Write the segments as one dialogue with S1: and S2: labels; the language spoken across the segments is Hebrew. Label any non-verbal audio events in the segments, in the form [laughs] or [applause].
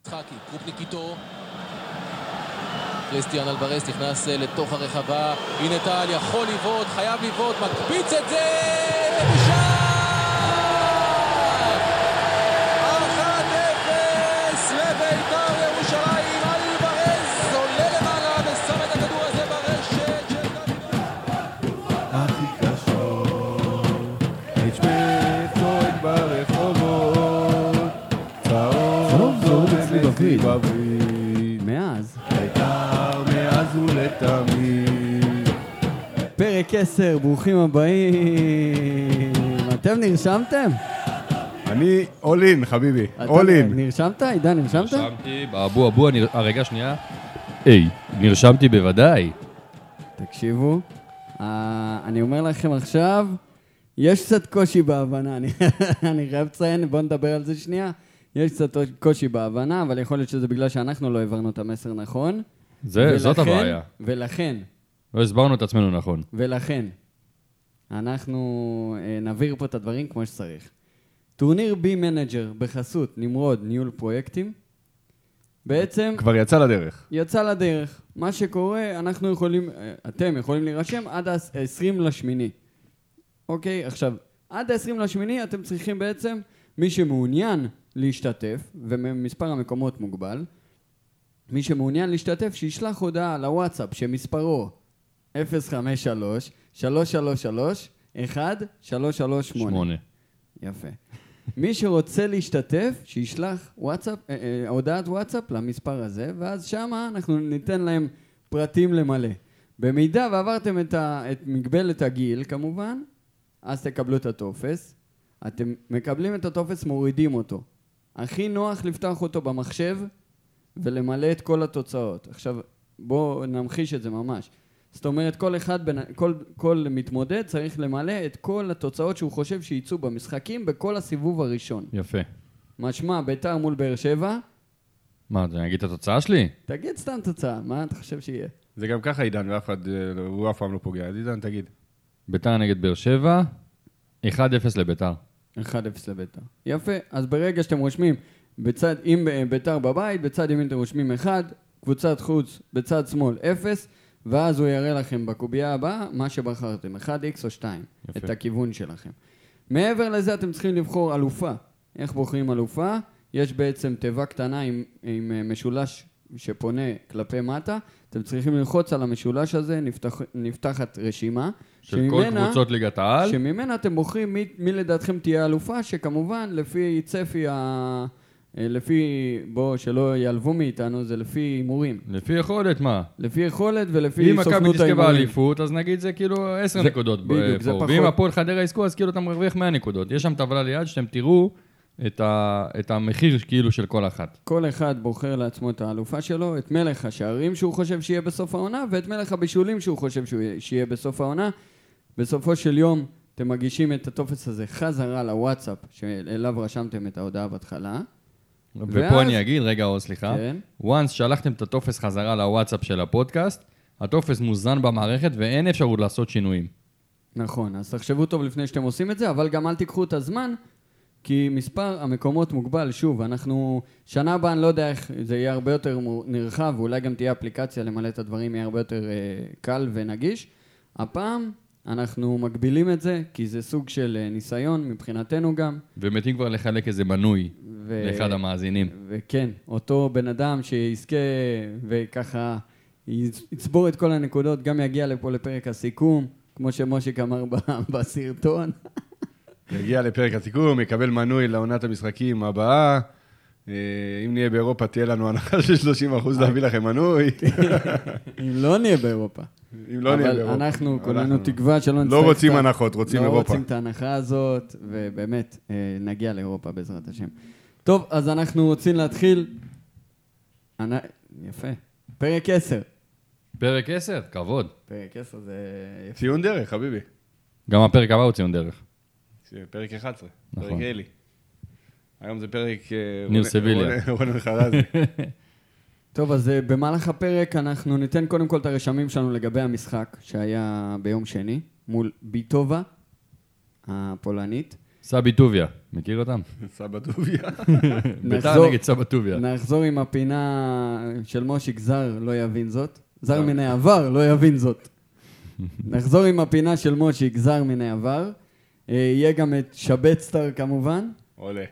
S1: יצחקי, קרופניק איתו. קריסטיאן אלברס נכנס אה, לתוך הרחבה, הנה טל, יכול לבעוט, חייב לבעוט, מקפיץ את זה! מבושל! 1-0 לבית"ר ירושלים, אלברס עולה למעלה ושם את הכדור הזה ברשת של דן ביטון.
S2: הכי קשור. HBF צועק ברחובות, צהוב
S3: צהוב
S2: זו
S3: זו
S2: מסביב
S3: מסביב.
S2: אביב.
S3: מאז.
S2: בית"ר מאז ולתמיד.
S3: פרק 10, ברוכים הבאים. אתם נרשמתם?
S2: אני אול אין, חביבי,
S3: אתה
S2: אול אין.
S3: נרשמת? עידן, נרשמת?
S4: נרשמתי, באבו אבו, אני- אה, רגע, שנייה. היי, נרשמתי בוודאי.
S3: תקשיבו, אה, אני אומר לכם עכשיו, יש קצת קושי בהבנה, אני- [laughs] אני חייב לציין, בואו נדבר על זה שנייה. יש קצת קושי בהבנה, אבל יכול להיות שזה בגלל שאנחנו לא העברנו את המסר נכון.
S4: זה, זאת
S3: ולכן-
S4: הבעיה.
S3: ולכן,
S4: לא הסברנו את עצמנו נכון.
S3: ולכן, אנחנו אה, נבהיר פה את הדברים כמו שצריך. טורניר בי מנג'ר בחסות נמרוד ניהול פרויקטים, בעצם
S2: כבר יצא לדרך.
S3: יצא לדרך. מה שקורה, אנחנו יכולים, אה, אתם יכולים להירשם עד ה-20 לשמיני. אוקיי, עכשיו, עד ה-20 לשמיני אתם צריכים בעצם, מי שמעוניין להשתתף, ומספר המקומות מוגבל, מי שמעוניין להשתתף, שישלח הודעה לוואטסאפ שמספרו 053 333 1338
S4: שמונה.
S3: יפה. מי שרוצה להשתתף, שישלח וואטסאפ, אה, אה, הודעת וואטסאפ למספר הזה, ואז שמה אנחנו ניתן להם פרטים למלא. במידה ועברתם את, ה, את מגבלת הגיל, כמובן, אז תקבלו את הטופס. אתם מקבלים את הטופס, מורידים אותו. הכי נוח לפתוח אותו במחשב ולמלא את כל התוצאות. עכשיו, בואו נמחיש את זה ממש. זאת אומרת, כל אחד, בין, כל, כל מתמודד צריך למלא את כל התוצאות שהוא חושב שיצאו במשחקים בכל הסיבוב הראשון.
S4: יפה.
S3: משמע, ביתר מול באר שבע,
S4: מה, אתה אגיד את התוצאה שלי?
S3: תגיד סתם תוצאה, מה אתה חושב שיהיה?
S2: זה גם ככה עידן, ואף אחד, אה, לא- הוא אף פעם לא פוגע. אז עידן, תגיד.
S4: ביתר נגד באר שבע, 1-0 לביתר.
S3: 1-0 לביתר. יפה, אז ברגע שאתם רושמים, בצד, אם אה, ביתר בבית, בצד ימין אתם רושמים 1, קבוצת חוץ, בצד שמאל 0, ואז הוא יראה לכם בקובייה הבאה מה שבחרתם, 1x או 2,
S4: יפה.
S3: את הכיוון שלכם. מעבר לזה אתם צריכים לבחור אלופה. איך בוחרים אלופה? יש בעצם תיבה קטנה עם, עם אה, משולש שפונה כלפי מטה, אתם צריכים ללחוץ על המשולש הזה, נפתח, נפתחת רשימה.
S4: של כל
S3: שממנה-
S4: קבוצות ליגת העל.
S3: שממנה אתם בוחרים מי, מי לדעתכם תהיה אלופה, שכמובן לפי צפי ה... אה, לפי, בוא, שלא יעלבו מאיתנו, זה לפי הימורים.
S4: לפי יכולת, מה?
S3: לפי יכולת ולפי
S4: אם מכבי
S3: סוכנות
S4: תזכה
S3: ההימורים.
S4: באליפות, אז נגיד זה כאילו 10
S3: זה-
S4: נקודות ב-
S3: בדיוק, זה
S4: פה.
S3: פחות.
S4: ואם הפועל חדרה יזכו, אז כאילו אתה מרוויח 100 נקודות. יש שם טבלה ליד שאתם תראו את ה- את המחיר כאילו של כל אחת.
S3: כל אחד בוחר לעצמו את האלופה שלו, את מלך השערים שהוא חושב שיהיה בסוף העונה, ואת מלך הבישולים שהוא חושב שהוא יהיה- שיהיה בסוף העונה. בסופו של יום, אתם מגישים את הטופס הזה חזרה לוואטסאפ, שאליו רשמתם את ההודעה בהתחלה.
S4: ופה אני אגיד, רגע, אור, סליחה.
S3: כן.
S4: once שלחתם את הטופס חזרה לוואטסאפ של הפודקאסט, הטופס מוזן במערכת ואין אפשרות לעשות שינויים.
S3: נכון, אז תחשבו טוב לפני שאתם עושים את זה, אבל גם אל תיקחו את הזמן, כי מספר המקומות מוגבל. שוב, אנחנו... שנה הבאה, אני לא יודע איך, זה יהיה הרבה יותר מו- נרחב, ואולי גם תהיה אפליקציה למלא את הדברים, יהיה הרבה יותר אה, קל ונגיש. הפעם אנחנו מגבילים את זה, כי זה סוג של אה, ניסיון מבחינתנו גם.
S4: ומתים כבר לחלק איזה מנוי
S3: ו...
S4: לאחד המאזינים.
S3: וכן, אותו בן אדם שיזכה וככה יצ- יצבור את כל הנקודות, גם יגיע לפה לפרק הסיכום, כמו שמושיק אמר ב- בסרטון.
S2: יגיע לפרק הסיכום, יקבל מנוי לעונת המשחקים הבאה. אה, אם נהיה באירופה, תהיה לנו הנחה של 30% להביא לכם מנוי.
S3: אם לא נהיה באירופה.
S2: אם לא נהיה באירופה.
S3: אבל אנחנו כולנו
S2: אנחנו-
S3: תקווה שלא נצטרך...
S2: לא רוצים
S3: את ה-
S2: הנחות, רוצים
S3: לא
S2: אירופה.
S3: רוצים את ההנחה הזאת, ובאמת, אה, נגיע לאירופה בעזרת השם. טוב, אז אנחנו רוצים להתחיל... אנ- יפה. פרק 10.
S4: פרק 10, כבוד.
S3: פרק 10 זה יפה.
S2: ציון דרך, חביבי.
S4: גם הפרק הבא הוא ציון דרך.
S2: פרק 11,
S4: נכון.
S2: פרק אלי. היום זה פרק... אה,
S4: ניר
S2: רונן-
S4: סביליה.
S2: רונן- רונן
S3: [laughs]
S2: חרזי.
S3: טוב, אז אה, במהלך הפרק אנחנו ניתן קודם כל את הרשמים שלנו לגבי המשחק שהיה ביום שני, מול ביטובה הפולנית.
S4: סבי טוביה, מכיר אותם?
S2: סבא
S3: [laughs]
S2: דוביה.
S4: ביתר
S3: נחזור-
S4: נגד סבא טוביה.
S3: נחזור עם הפינה של מושיק זר לא יבין זאת. זר מן העבר לא יבין זאת. נחזור עם הפינה של מושיק זר מן העבר. אה, יהיה גם את שבצטר כמובן.
S2: עולה.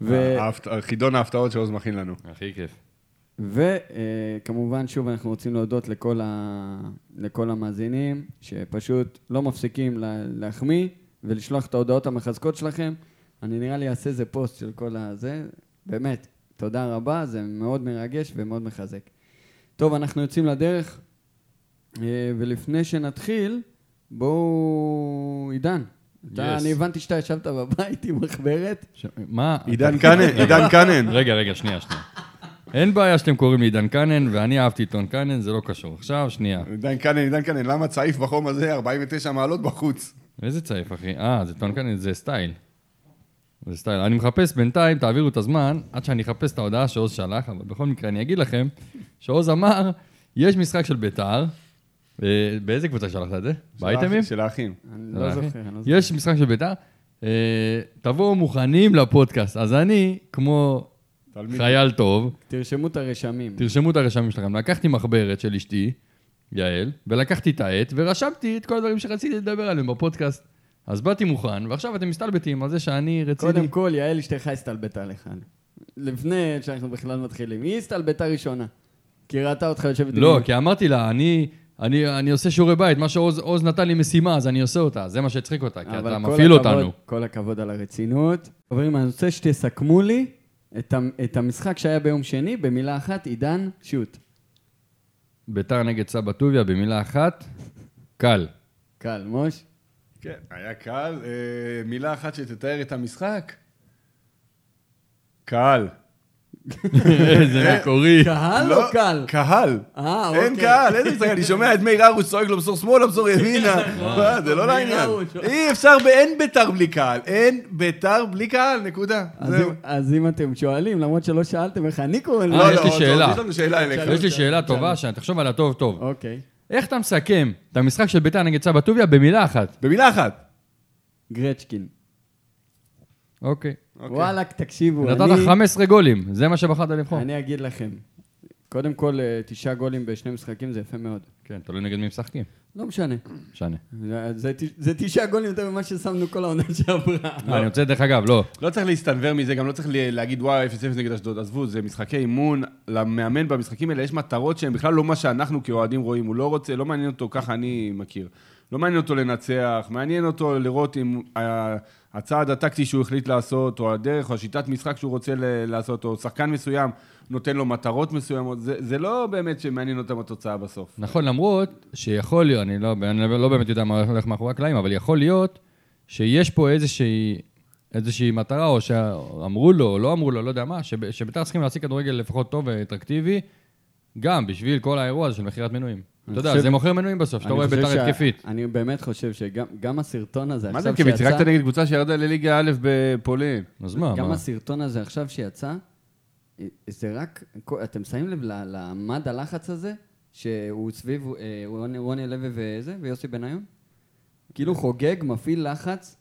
S3: ו- אה,
S2: ההפת- חידון ההפתעות שעוז מכין לנו.
S4: הכי כיף.
S3: וכמובן, שוב, אנחנו רוצים להודות לכל, ה... לכל המאזינים, שפשוט לא מפסיקים לה... להחמיא ולשלוח את ההודעות המחזקות שלכם. אני נראה לי אעשה איזה פוסט של כל הזה. באמת, תודה רבה, זה מאוד מרגש ומאוד מחזק. טוב, אנחנו יוצאים לדרך, אה, ולפני שנתחיל, בואו... עידן, אתה,
S4: Yes.
S3: אני הבנתי שאתה ישבת בבית עם מחברת.
S4: ש- מה?
S2: עידן קאנן, עידן
S3: [laughs]
S2: קאנן.
S4: רגע, רגע, שנייה, שנייה. אין בעיה שאתם קוראים לי עידן קאנן, ואני אהבתי את רון קאנן, זה לא קשור. עכשיו, שנייה.
S2: עידן קאנן, עידן קאנן, למה צעיף בחום הזה 49 מעלות בחוץ?
S4: איזה צעיף, אחי? אה, זה טון קאנן, זה סטייל. זה סטייל. אני מחפש בינתיים, תעבירו את הזמן, עד שאני אחפש את ההודעה שעוז שלח, אבל בכל מקרה אני אגיד לכם, שעוז אמר, יש משחק של ביתר, אה, באיזה קבוצה שלחת את זה? באייטמים?
S2: של האחים.
S3: אני לא
S4: אחי.
S3: זוכר, אני לא זוכר.
S4: אה. יש משחק של ביתר, אה, תבואו מוכנים לפודקאסט. אז אני, כמו
S2: תלמיד.
S4: חייל טוב,
S3: תרשמו את הרשמים.
S4: תרשמו את הרשמים שלכם. לקחתי מחברת של אשתי, יעל, ולקחתי את העט, ורשמתי את כל הדברים שרציתי לדבר עליהם בפודקאסט. אז באתי מוכן, ועכשיו אתם מסתלבטים על זה שאני רציני.
S3: קודם כל, יעל אשתך הסתלבטה לך. לפני שאנחנו בכלל מתחילים. היא הסתלבטה ראשונה. כי ראתה אותך יושבת...
S4: לא,
S3: עם-
S4: כי אמרתי לה, אני... אני, אני עושה שיעורי בית, מה שעוז עוז נתן לי משימה, אז אני עושה אותה, זה מה שהצחיק אותה, כי
S3: אבל
S4: אתה
S3: כל
S4: מפעיל
S3: הכבוד-
S4: אותנו.
S3: כל הכבוד על הרצינות. חברים, אני רוצה שתסכמו לי את המ- את המשחק שהיה ביום שני במילה אחת, עידן, שוט.
S4: ביתר נגד סבא טוביה, במילה אחת,
S3: [laughs]
S4: קל.
S3: קל, מוש?
S2: כן, היה קל. אה, מילה אחת שתתאר את המשחק. קהל.
S4: איזה מקורי.
S3: קהל
S4: לא.
S3: או קל?
S2: לא, קהל.
S3: אה, אוקיי.
S2: אין קהל, איזה משחק, אני שומע את מאיר הרוש צועק לו בשור שמאלה, בשור
S3: [laughs]
S2: ימינה. מה, זה לא
S3: נכון. מאיר
S2: לעניין.
S3: הרוש.
S2: אי אפשר, ב- אין ביתר בלי קהל. אין ביתר בלי קהל, נקודה.
S3: אז
S2: זהו.
S3: אם- אז אם אתם שואלים, למרות שלא שאלתם איך אני קורא לזה...
S4: אה,
S2: לא,
S4: יש
S2: לא,
S4: לי
S2: עוד-
S4: שאלה.
S2: עוד יש לנו שאלה אליך.
S4: יש לי שאלה טובה, שאני- תחשוב עליה טוב טוב.
S3: אוקיי.
S4: איך אתה מסכם את המשחק של ביתר נגד סבא טוביה במילה אחת?
S2: במילה אחת.
S3: גרצ'קין.
S4: אוקיי.
S2: אוקיי.
S3: וואלכ, תקשיבו, אני...
S4: נתת 15 גולים, זה מה שבחרת לבחור.
S3: אני אגיד לכם, קודם כל, אה, תשעה גולים בשני משחקים זה יפה מאוד.
S4: כן, תלוי נגד מי משחקים.
S3: לא משנה.
S4: משנה.
S3: זה- זה ת- זה תשעה גולים יותר ממה ששמנו כל העונה שעברה.
S4: אני רוצה, דרך אגב, לא.
S2: לא צריך להסתנוור מזה, גם לא צריך ל- להגיד וואי, 0-0 נגד אשדוד. עזבו, זה משחקי אימון, למאמן במשחקים האלה יש מטרות שהן בכלל לא מה שאנחנו כאוהדים רואים. הוא לא רוצה, לא מעניין אותו, ככה אני מכיר. לא מעניין אותו לנצח, מעניין אותו לראות אם ה- הצעד הטקטי שהוא החליט לעשות, או הדרך, או השיטת משחק שהוא רוצה ל- לעשות, או שחקן מסוים נותן לו מטרות מסוימות. זה, זה לא באמת שמעניין אותם התוצאה בסוף.
S4: נכון, למרות שיכול להיות, אני לא אני לא באמת יודע מה הולך מאחורי הקלעים, אבל יכול להיות שיש פה איזושהי... איזושהי מטרה, או שאמרו לו, או לא אמרו לו, לא יודע מה, שב- שביתר צריכים להשיג כדורגל לפחות טוב ואטרקטיבי, גם בשביל כל האירוע הזה של מכירת מנויים.
S3: אני
S4: אתה יודע,
S3: חושב-
S4: זה מוכר מנויים בסוף, שאתה
S3: אני
S4: רואה
S3: חושב
S4: ביתר
S3: שה-
S4: התקפית.
S3: אני באמת חושב שגם גם הסרטון הזה
S2: מה זה
S3: עכשיו
S2: כי שיחקת
S3: שיצא,
S2: נגד קבוצה שירדה לליגה א' בפולין?
S4: אז מה,
S3: גם
S4: מה?
S3: הסרטון הזה עכשיו שיצא, זה רק, אתם שמים לב ל- למד הלחץ הזה, שהוא סביב אה, רוני- רוני לוי וזה, ויוסי בניון? כאילו חוגג, מפעיל לחץ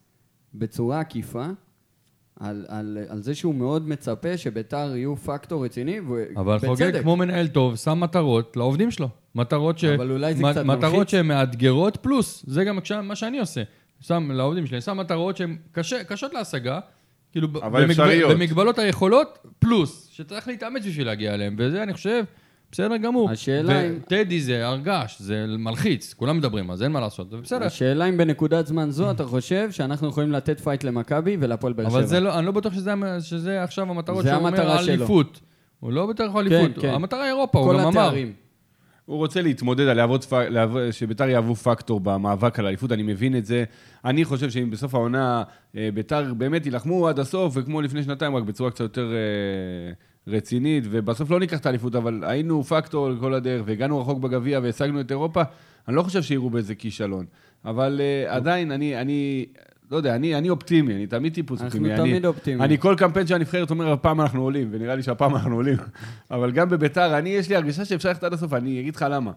S3: בצורה עקיפה. על, על, על זה שהוא מאוד מצפה שביתר יהיו פקטור רציני, ובצדק.
S4: אבל חוגג כמו מנהל טוב, שם מטרות לעובדים שלו. מטרות ש...
S3: אבל אולי זה
S4: מ-
S3: קצת
S4: מטרות
S3: מלחיץ.
S4: שהן מאתגרות פלוס, זה גם כשה- מה שאני עושה. שם לעובדים שלי, שם מטרות שהן קשה- קשות להשגה, כאילו ב-
S2: אבל
S4: במגב-
S2: אפשריות.
S4: במגבלות היכולות פלוס, שצריך להתאמץ בשביל להגיע אליהם, וזה אני חושב, בסדר גמור.
S3: השאלה
S4: ו-
S3: אם-
S4: טדי זה הרגש, זה מלחיץ, כולם מדברים, אז אין מה לעשות, זה בסדר.
S3: השאלה אם בנקודת זמן זו אתה חושב שאנחנו יכולים לתת פייט למכבי ולהפועל באר שבע.
S4: אבל זה לא, אני לא בטוח שזה, המ- שזה עכשיו המטרות
S3: זה
S4: שהוא אומר,
S3: המטרה שלו.
S4: אליפות. הוא לא בטוח אליפות,
S3: כן.
S4: המטרה היא אירופה, הוא
S3: כל
S4: גם אמר.
S3: התארים.
S2: הוא רוצה להתמודד על להוות, פ- להוות- שביתר יהוו פקטור במאבק על האליפות, אני מבין את זה. אני חושב שאם בסוף העונה אה, ביתר באמת יילחמו עד הסוף, וכמו לפני שנתיים, רק בצורה קצת יותר אה, רצינית, ובסוף לא ניקח את האליפות, אבל היינו פקטור לכל הדרך, והגענו רחוק בגביע והשגנו את אירופה, אני לא חושב שיראו באיזה כישלון. אבל אה, עדיין, אני, אני, לא יודע, אני, אני אופטימי, אני תמיד טיפוס
S3: אנחנו
S2: אופטימי.
S3: תמיד
S2: אני,
S3: אופטימיים.
S2: אני כל קמפיין של הנבחרת אומר, הפעם אנחנו עולים, ונראה לי שהפעם אנחנו עולים. [laughs] אבל גם בביתר, אני, יש לי הרגשה שאפשר ללכת עד הסוף, אני אגיד לך למה.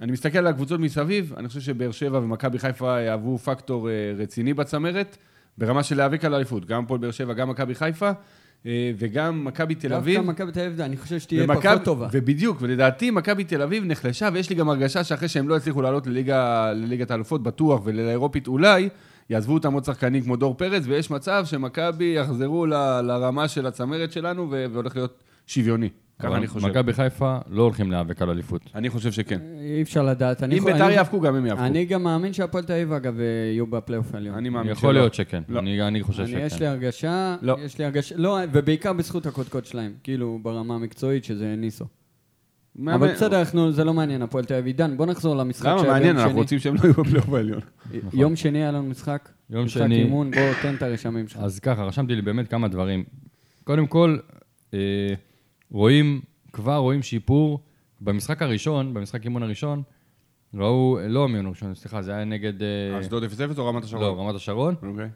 S2: אני מסתכל על הקבוצות מסביב, אני חושב שבאר שבע ומכבי חיפה יהוו פקטור אה, רציני בצמרת, ברמה של להיאבק על האליפות, גם הפועל באר שבע, גם מכבי חיפה, אה, וגם מכבי תל אביב.
S3: דווקא מכבי תל אביב, אני חושב שתהיה
S2: ומכב-
S3: פחות טובה.
S2: ובדיוק, ולדעתי מכבי תל אביב נחלשה, ויש לי גם הרגשה שאחרי שהם לא יצליחו לעלות לליגה, לליגת האלופות בטוח ולאירופית אולי, יעזבו אותם עוד שחקנים כמו דור פרץ, ויש מצב שמכבי יחזרו ל, לרמה של הצמרת שלנו, ו- והולך להיות שוויוני. ככה
S4: אבל
S2: אני חושב.
S4: מכבי חיפה לא הולכים להיאבק על אליפות.
S2: אני חושב שכן.
S3: אי אפשר לדעת. אני
S2: אם
S3: יכול-
S2: ביתר
S3: אני-
S2: יאבקו, גם הם יאבקו.
S3: אני גם מאמין שהפועל תל אביב, אגב, אה, יהיו בפלייאוף העליון.
S2: אני מאמין
S4: יכול
S2: שלא.
S4: להיות שכן.
S2: לא.
S4: אני אני חושב
S3: אני, יש לי
S4: שכן.
S3: הרגשה,
S2: לא.
S3: יש לי הרגשה, לא, ובעיקר בזכות הקודקוד שלהם, כאילו ברמה המקצועית שזה ניסו.
S2: מאמן-
S3: אבל בסדר, אנחנו, זה לא מעניין, הפועל תל אביב. עידן, בוא נחזור למשחק
S2: למה?
S3: שהיה
S2: מעניין,
S3: ביום
S2: אנחנו
S3: שני.
S2: רוצים שהם לא יהיו בפלייאוף העליון.
S3: יום שני היה לנו משחק.
S4: נכון. יום
S3: משחק
S4: שני.
S3: אימון, בוא, תן את הרשמים שלך.
S4: אז ככה, רשמתי לי באמת כמה דברים. קודם כל, אה, רואים, כבר רואים שיפור. במשחק הראשון, במשחק אימון הראשון, ראו, לא המיון הראשון, סליחה, זה היה נגד... אה,
S2: אשדוד 0-0 או רמת השרון?
S4: לא, רמת השרון.
S2: אוקיי.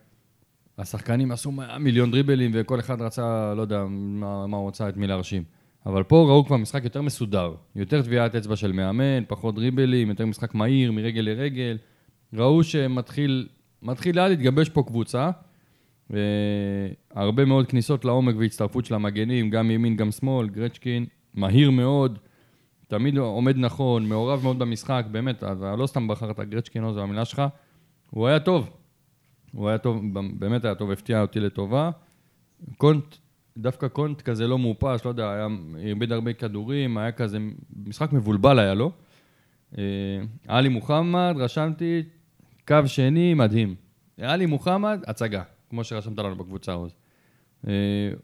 S4: השחקנים עשו מאה מיליון דריבלים, וכל אחד רצה, לא יודע מה, מה הוא רצה, את מי להרשים. אבל פה ראו כבר משחק יותר מסודר. יותר טביעת אצבע של מאמן, פחות דריבלים, יותר משחק מהיר, מרגל לרגל. ראו שמתחיל מתחיל לאט להתגבש פה קבוצה. והרבה מאוד כניסות לעומק והצטרפות של המגנים, גם ימין, גם שמאל, גרצ'קין, מהיר מאוד, תמיד עומד נכון, מעורב מאוד במשחק, באמת, אבל לא סתם בחרת גרצ'קין, לא, זו המילה שלך. הוא היה טוב, הוא היה טוב, באמת היה טוב, הפתיע אותי לטובה. קונט, דווקא קונט כזה לא מאופס, לא יודע, היה, איבד הרבה כדורים, היה כזה, משחק מבולבל היה לו. אה, עלי מוחמד, רשמתי, קו שני, מדהים. עלי מוחמד, הצגה, כמו שרשמת לנו בקבוצה אז. אה,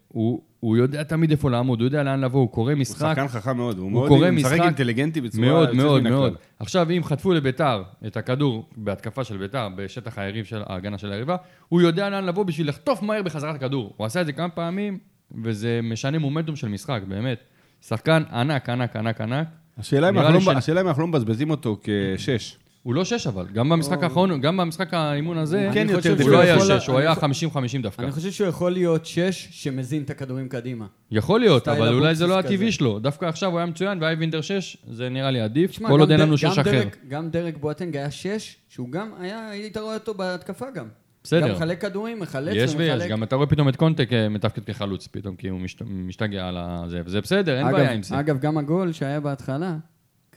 S4: הוא, הוא יודע תמיד איפה לעמוד, הוא יודע לאן לבוא, הוא קורא
S2: הוא
S4: משחק.
S2: שחקן חכם מאוד, הוא
S4: הוא
S2: מאוד
S4: קורא
S2: הוא משחק
S4: משחק
S2: אינטליגנטי בצורה
S4: מאוד
S2: יוצאת
S4: מאוד
S2: מן הכלל.
S4: מאוד. עכשיו, אם חטפו לביתר את הכדור בהתקפה של ביתר בשטח היריב של ההגנה של היריבה, הוא יודע לאן לבוא בשביל לחטוף מהר בחזרת הכדור. הוא עשה את זה כמה פעמים, וזה משנה מומנטום של משחק, באמת. שחקן ענק, ענק, ענק, ענק.
S2: השאלה אם
S4: נראה
S2: אנחנו
S4: לי
S2: לא-
S4: ש-
S2: השאלה אם אנחנו לא מבזבזים אותו כשש.
S4: הוא לא שש אבל, גם במשחק האחרון, גם במשחק האימון הזה,
S2: כן
S3: אני
S2: יותר
S3: חושב
S2: דפקט.
S4: הוא
S3: שהוא
S4: לא היה
S3: יכול-
S4: שש, הוא
S3: אני
S4: היה
S3: חושב-
S4: 50-50 דווקא.
S3: אני חושב שהוא יכול להיות שש שמזין את הכדורים קדימה.
S4: יכול להיות,
S3: סטייל
S4: אבל אולי זה לא
S3: אבוקסיס כזה.
S4: הטבעי שלו. דווקא עכשיו הוא היה מצוין, והיה וינדר 6, זה נראה לי עדיף.
S3: תשמע,
S4: כל
S3: גם
S4: עוד אין
S3: ד-
S4: לנו
S3: גם
S4: שש אחר.
S3: דרק- גם דרק בואטנג היה שש, שהוא גם היה, היית רואה אותו בהתקפה גם.
S4: בסדר.
S3: גם מחלק כדורים, מחלק
S4: יש
S3: ומחלק.
S4: ויש, גם אתה רואה פתאום את קונטה כ- מתפקד כחלוץ פתאום, כי הוא משת- משתגע על זה, וזה בסדר, אין
S3: אגב-
S4: בעיה עם זה.
S3: אגב, גם הגול שהיה בהתחלה,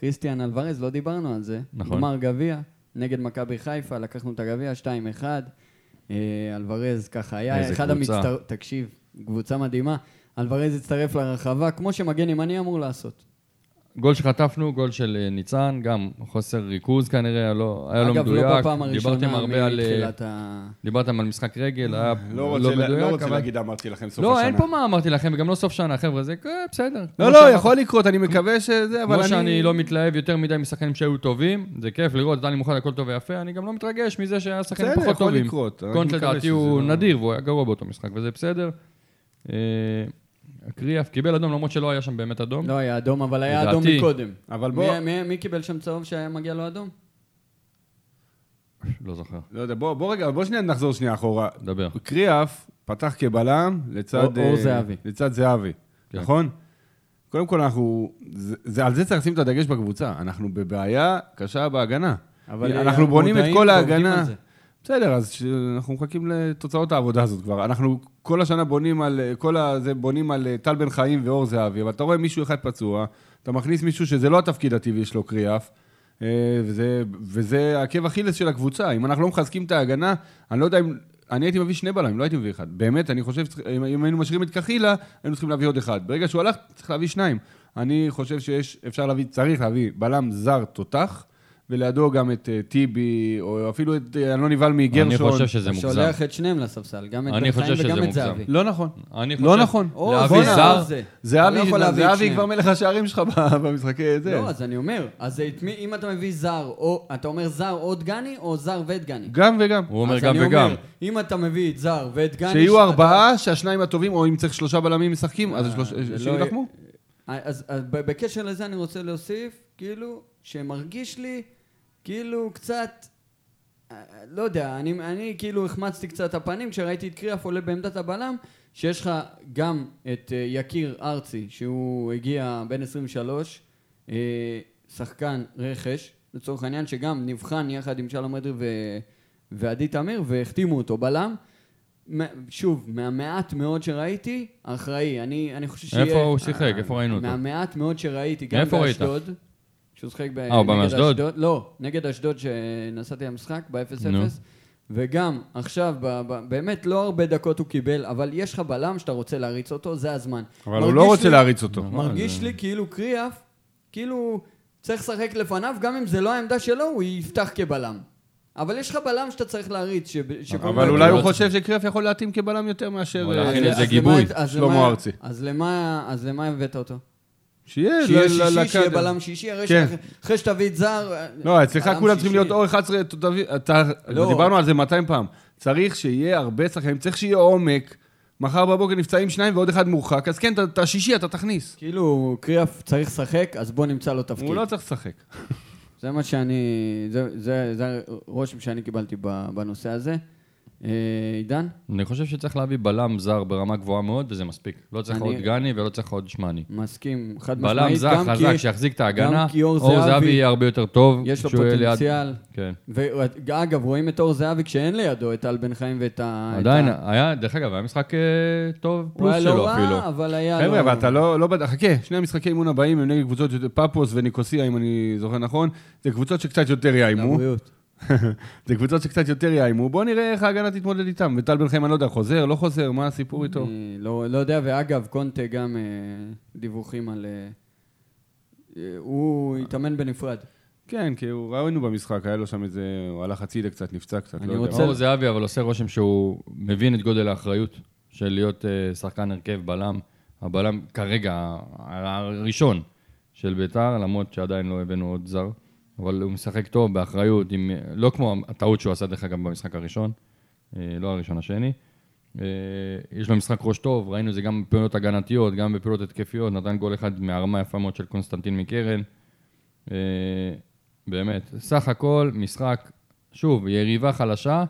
S3: כריסטיאן אלוורז, לא דיברנו על זה.
S4: נכון.
S3: גמר גביע, נגד מכבי חיפה, לקחנו את הגביע, 2-1. אה, אלוורז ככה היה,
S4: איזה
S3: אחד
S4: קבוצה.
S3: המצטר... תקשיב, קבוצה מדהימה. אלוורז הצטרף לרחבה, כמו שמגן ימני אמור לעשות.
S4: גול שחטפנו, גול של אה, ניצן, גם חוסר ריכוז כנראה, לא- היה לא
S3: אגב,
S4: מדויק.
S3: לא בפעם הראשונה
S4: דיברתם הרבה על... אה,
S3: מתחילת ה...
S4: דיברתם על משחק רגל, היה
S2: לא
S4: לא
S2: רוצה לה- לא
S4: מדויק,
S2: רוצה
S4: אבל...
S2: להגיד אמרתי לכם סוף השנה.
S4: לא, אין פה מה אמרתי לכם, וגם לא סוף שנה, חבר'ה, זה אה, בסדר.
S2: לא,
S4: כמו
S2: לא,
S4: שאמרתי,
S2: יכול לקרות, אני מקווה שזה, אבל
S4: כמו
S2: אני...
S4: שאני לא מתלהב יותר מדי משחקנים שהיו טובים, זה כיף לראות, אתה מוכן הכל טוב ויפה, אני גם לא מתרגש מזה שהיה שחקנים
S2: בסדר,
S4: פחות
S2: יכול
S4: טובים.
S2: לקרות, רק
S4: קונט
S2: מקווה
S4: לדעתי
S2: שזה
S4: הוא
S2: לא-
S4: נדיר והוא היה גרוע באותו משחק, וזה בסדר. אה, קריאף קיבל אדום למרות שלא היה שם באמת אדום.
S3: לא היה אדום, אבל היה אדום
S4: לדעתי.
S3: מקודם.
S2: אבל בוא-
S3: מי, מי, מי קיבל שם צהוב שהיה מגיע לו אדום?
S4: לא זוכר,
S2: לא יודע, בוא בוא רגע, בוא שנייה נחזור שנייה אחורה.
S4: דבר.
S2: קריאף פתח כבלם לצד...
S3: אור- אור
S2: אה,
S3: זהבי.
S2: לצד זהבי,
S4: כן.
S2: נכון? קודם כל, אנחנו... זה- זה- על זה צריך לשים את הדגש בקבוצה. אנחנו בבעיה קשה בהגנה.
S3: אבל, אה,
S2: אנחנו בונים את
S3: מודעים
S2: כל
S3: ועובדים על
S2: ההגנה...
S3: זה.
S2: בסדר, אז ש- אנחנו מחכים לתוצאות העבודה הזאת כבר. אנחנו כל השנה בונים על, אה, כל ה- זה בונים על אה, טל בן חיים ואור זהבי, אבל אתה רואה מישהו אחד פצוע, אתה מכניס מישהו שזה לא התפקיד הטבעי שלו, קריאף, אה, וזה, וזה עקב אכילס של הקבוצה. אם אנחנו לא מחזקים את ההגנה, אני לא יודע אם... אני הייתי מביא שני בלמים, לא הייתי מביא אחד. באמת, אני חושב, שצריך- אם אם היינו משאירים את קחילה, היינו צריכים להביא עוד אחד. ברגע שהוא הלך, צריך להביא שניים. אני חושב שיש, אפשר להביא, צריך להביא בלם זר תותח, ולידו גם את אה, טיבי, או אפילו את אה, אלוני ולמי, גרשון.
S4: אני חושב שזה מוגזם.
S3: שולח את שניהם לספסל, גם את
S4: אני
S3: בן
S4: חושב
S3: חיים
S4: שזה
S3: וגם את
S4: מוגזם.
S3: זהבי.
S2: לא נכון.
S4: אני
S2: לא
S4: חושב-
S2: נכון.
S3: או,
S4: להביא
S3: בואנה,
S4: זר,
S3: או זה. אתה לא
S2: זהבי,
S3: יכול להביא את
S2: זהבי
S3: שניהם.
S2: כבר מלך השערים שלך ב- [laughs] במשחקי זה.
S3: לא, אז אני אומר, אז את מי- אם אתה מביא זר, או אתה אומר זר או דגני, או זר ודגני.
S2: גם וגם.
S4: הוא אומר
S3: אז
S4: גם
S3: אני
S4: וגם.
S3: אם אתה מביא את זר ואת גני...
S2: שיהיו
S3: שאתה-
S2: ארבעה, שהשניים הטובים, או אם צריך שלושה בלמים משחקים, אז שלוש-
S3: זה לא
S2: שיילחמו.
S3: אה, אז אז ב- בקשר לזה אני רוצה להוסיף, כאילו, שמרגיש לי, כאילו, קצת... אה, לא יודע, אני, אני כאילו החמצתי קצת הפנים כשראיתי את קריאף עולה בעמדת הבלם, שיש לך גם את אה, יקיר ארצי, שהוא הגיע בן 23, אה, שחקן רכש, לצורך העניין, שגם נבחן יחד עם שלום אדרי ו... ועדי תמיר, והחתימו אותו בלם, מ- שוב, מהמעט מאוד שראיתי, אחראי. אני, אני חושב שיהיה... אה,
S4: איפה הוא שיחק? איפה ראינו אותו?
S3: מהמעט מאוד שראיתי, גם
S4: איפה ראית? אה,
S3: באשדוד. שהוא שיחק ב...
S4: הוא בא
S3: נגד
S4: מאשדוד?
S3: אשדוד- לא, נגד אשדוד שנסעתי למשחק ב-0-0.
S4: נו.
S3: וגם עכשיו, ב- ב- באמת לא הרבה דקות הוא קיבל, אבל יש לך בלם שאתה רוצה להריץ אותו, זה הזמן.
S2: אבל הוא
S3: מרגיש
S2: לא רוצה
S3: לי-
S2: להריץ אותו.
S4: אה.
S3: מרגיש לי כאילו קריאף, כאילו צריך לשחק לפניו, גם אם זה לא העמדה שלו, הוא יפתח כבלם. אבל יש לך בלם שאתה צריך להריץ, שב- שכל
S2: אבל
S3: מיני-
S2: אולי הוא
S4: לא
S2: חושב שקריאף יכול להתאים כבלם יותר מאשר...
S4: אבל
S2: אה,
S4: להכין את
S3: אז
S4: זה
S3: למה-
S4: גיבוי,
S3: אז
S2: שלמה
S3: למה-
S2: ארצי.
S3: אז למה- אז למה הבאת אותו?
S2: שיהיה
S3: שיהיה
S2: ל- ל-
S3: שישי, שיהיה
S2: לקאדר.
S3: בלם שישי, הרי
S2: לא, כן.
S3: שאח- אחרי שתביא את זר... אה,
S2: לא, אצלך
S3: בלם
S2: כולם צריכים
S3: שישי.
S2: להיות או 11, אתה תביא- אתה-
S3: לא.
S2: דיברנו על זה 200 פעם. צריך שיהיה הרבה שחקנים, צריך שיהיה עומק. מחר בבוקר נפצעים שניים ועוד אחד מורחק, אז כן, את- את השישי אתה תכניס.
S3: כאילו, קריאף צריך לשחק, אז בוא נמצא לו תפקיד.
S2: הוא לא צריך לשחק.
S3: זה מה שאני... זה- זה זה הרושם שאני קיבלתי ב- בנושא הזה. אה, עידן?
S4: אני חושב שצריך להביא בלם זר ברמה גבוהה מאוד, וזה מספיק. לא צריך
S3: אני-
S4: עוד גני ולא צריך עוד שמני.
S3: מסכים, חד
S4: בלם
S3: משמעית.
S4: זר,
S3: גם
S4: חזק,
S3: כי-
S4: שיחזיק את ההגנה.
S3: גם כי אור
S4: אור זהבי
S3: זהבי
S4: יהיה הרבה יותר טוב.
S3: יש לו
S4: כשהוא יהיה ליד-
S3: פוטנציאל.
S4: כן.
S3: ואגב, רואים את אור זהבי כשאין לידו את טל בן חיים ואת ה... את
S4: עדיין,
S3: ה-
S4: היה, דרך אגב, היה משחק אה, טוב
S3: הוא
S4: פלוס
S3: היה לא
S4: שלו
S3: רע,
S4: אפילו.
S3: אבל היה...
S2: חבר'ה,
S3: לא-
S2: אבל אתה לא... לא בד- חכה, שני המשחקי אימון הבאים הם נגד קבוצות של פאפוס וניקוסיה, אם אני זוכר נכון. זה קבוצות שקצת יותר יאיימו.
S3: לבריאות.
S2: [laughs] זה קבוצות שקצת יותר יאיימו. בואו נראה איך ההגנה תתמודד איתם. וטל בן חיים, אני לא יודע, חוזר, לא חוזר, מה הסיפור איתו?
S3: אני לא לא יודע, ואגב, קונטה גם אה, דיווחים על... אה, אה, הוא התאמן בנפרד.
S2: כן, כי הוא ראינו במשחק, היה לו שם איזה... הוא הלך הצידה קצת, נפצע קצת,
S3: אני
S2: לא יודע.
S3: רוצה-
S4: אור זהבי, אבל עושה רושם שהוא מבין את גודל האחריות של להיות אה, שחקן הרכב בלם. הבלם כרגע, ה- הראשון של ביתר, למרות שעדיין לא הבאנו עוד זר. אבל הוא משחק טוב, באחריות, עם, לא כמו הטעות שהוא עשה דרך אגב במשחק הראשון, אה, לא הראשון, השני. אה, יש לו משחק ראש טוב, ראינו את זה גם בפעולות הגנתיות, גם בפעולות התקפיות, נתן גול אחד מהרמה היפה מאוד של קונסטנטין מקרן. אה, באמת, סך הכל משחק, שוב, יריבה חלשה,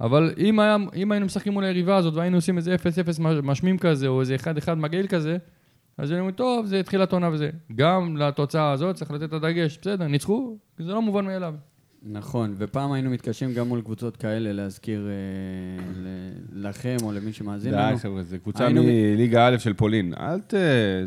S4: אבל אם, היה, אם היינו משחקים מול היריבה הזאת והיינו עושים איזה 0-0 מש- משמים כזה, או איזה 1-1 מגעיל כזה, אז היינו אומרים, טוב, זה תחילת עונה וזה. גם לתוצאה הזאת צריך לתת את הדגש, בסדר, ניצחו, זה לא מובן מאליו.
S3: נכון, ופעם היינו מתקשים גם מול קבוצות כאלה להזכיר אה, ל- לכם או למי שמאזין
S2: די,
S3: לנו.
S2: חבר'ה, זו קבוצה
S3: היינו-
S2: מליגה א' של פולין. אל ת...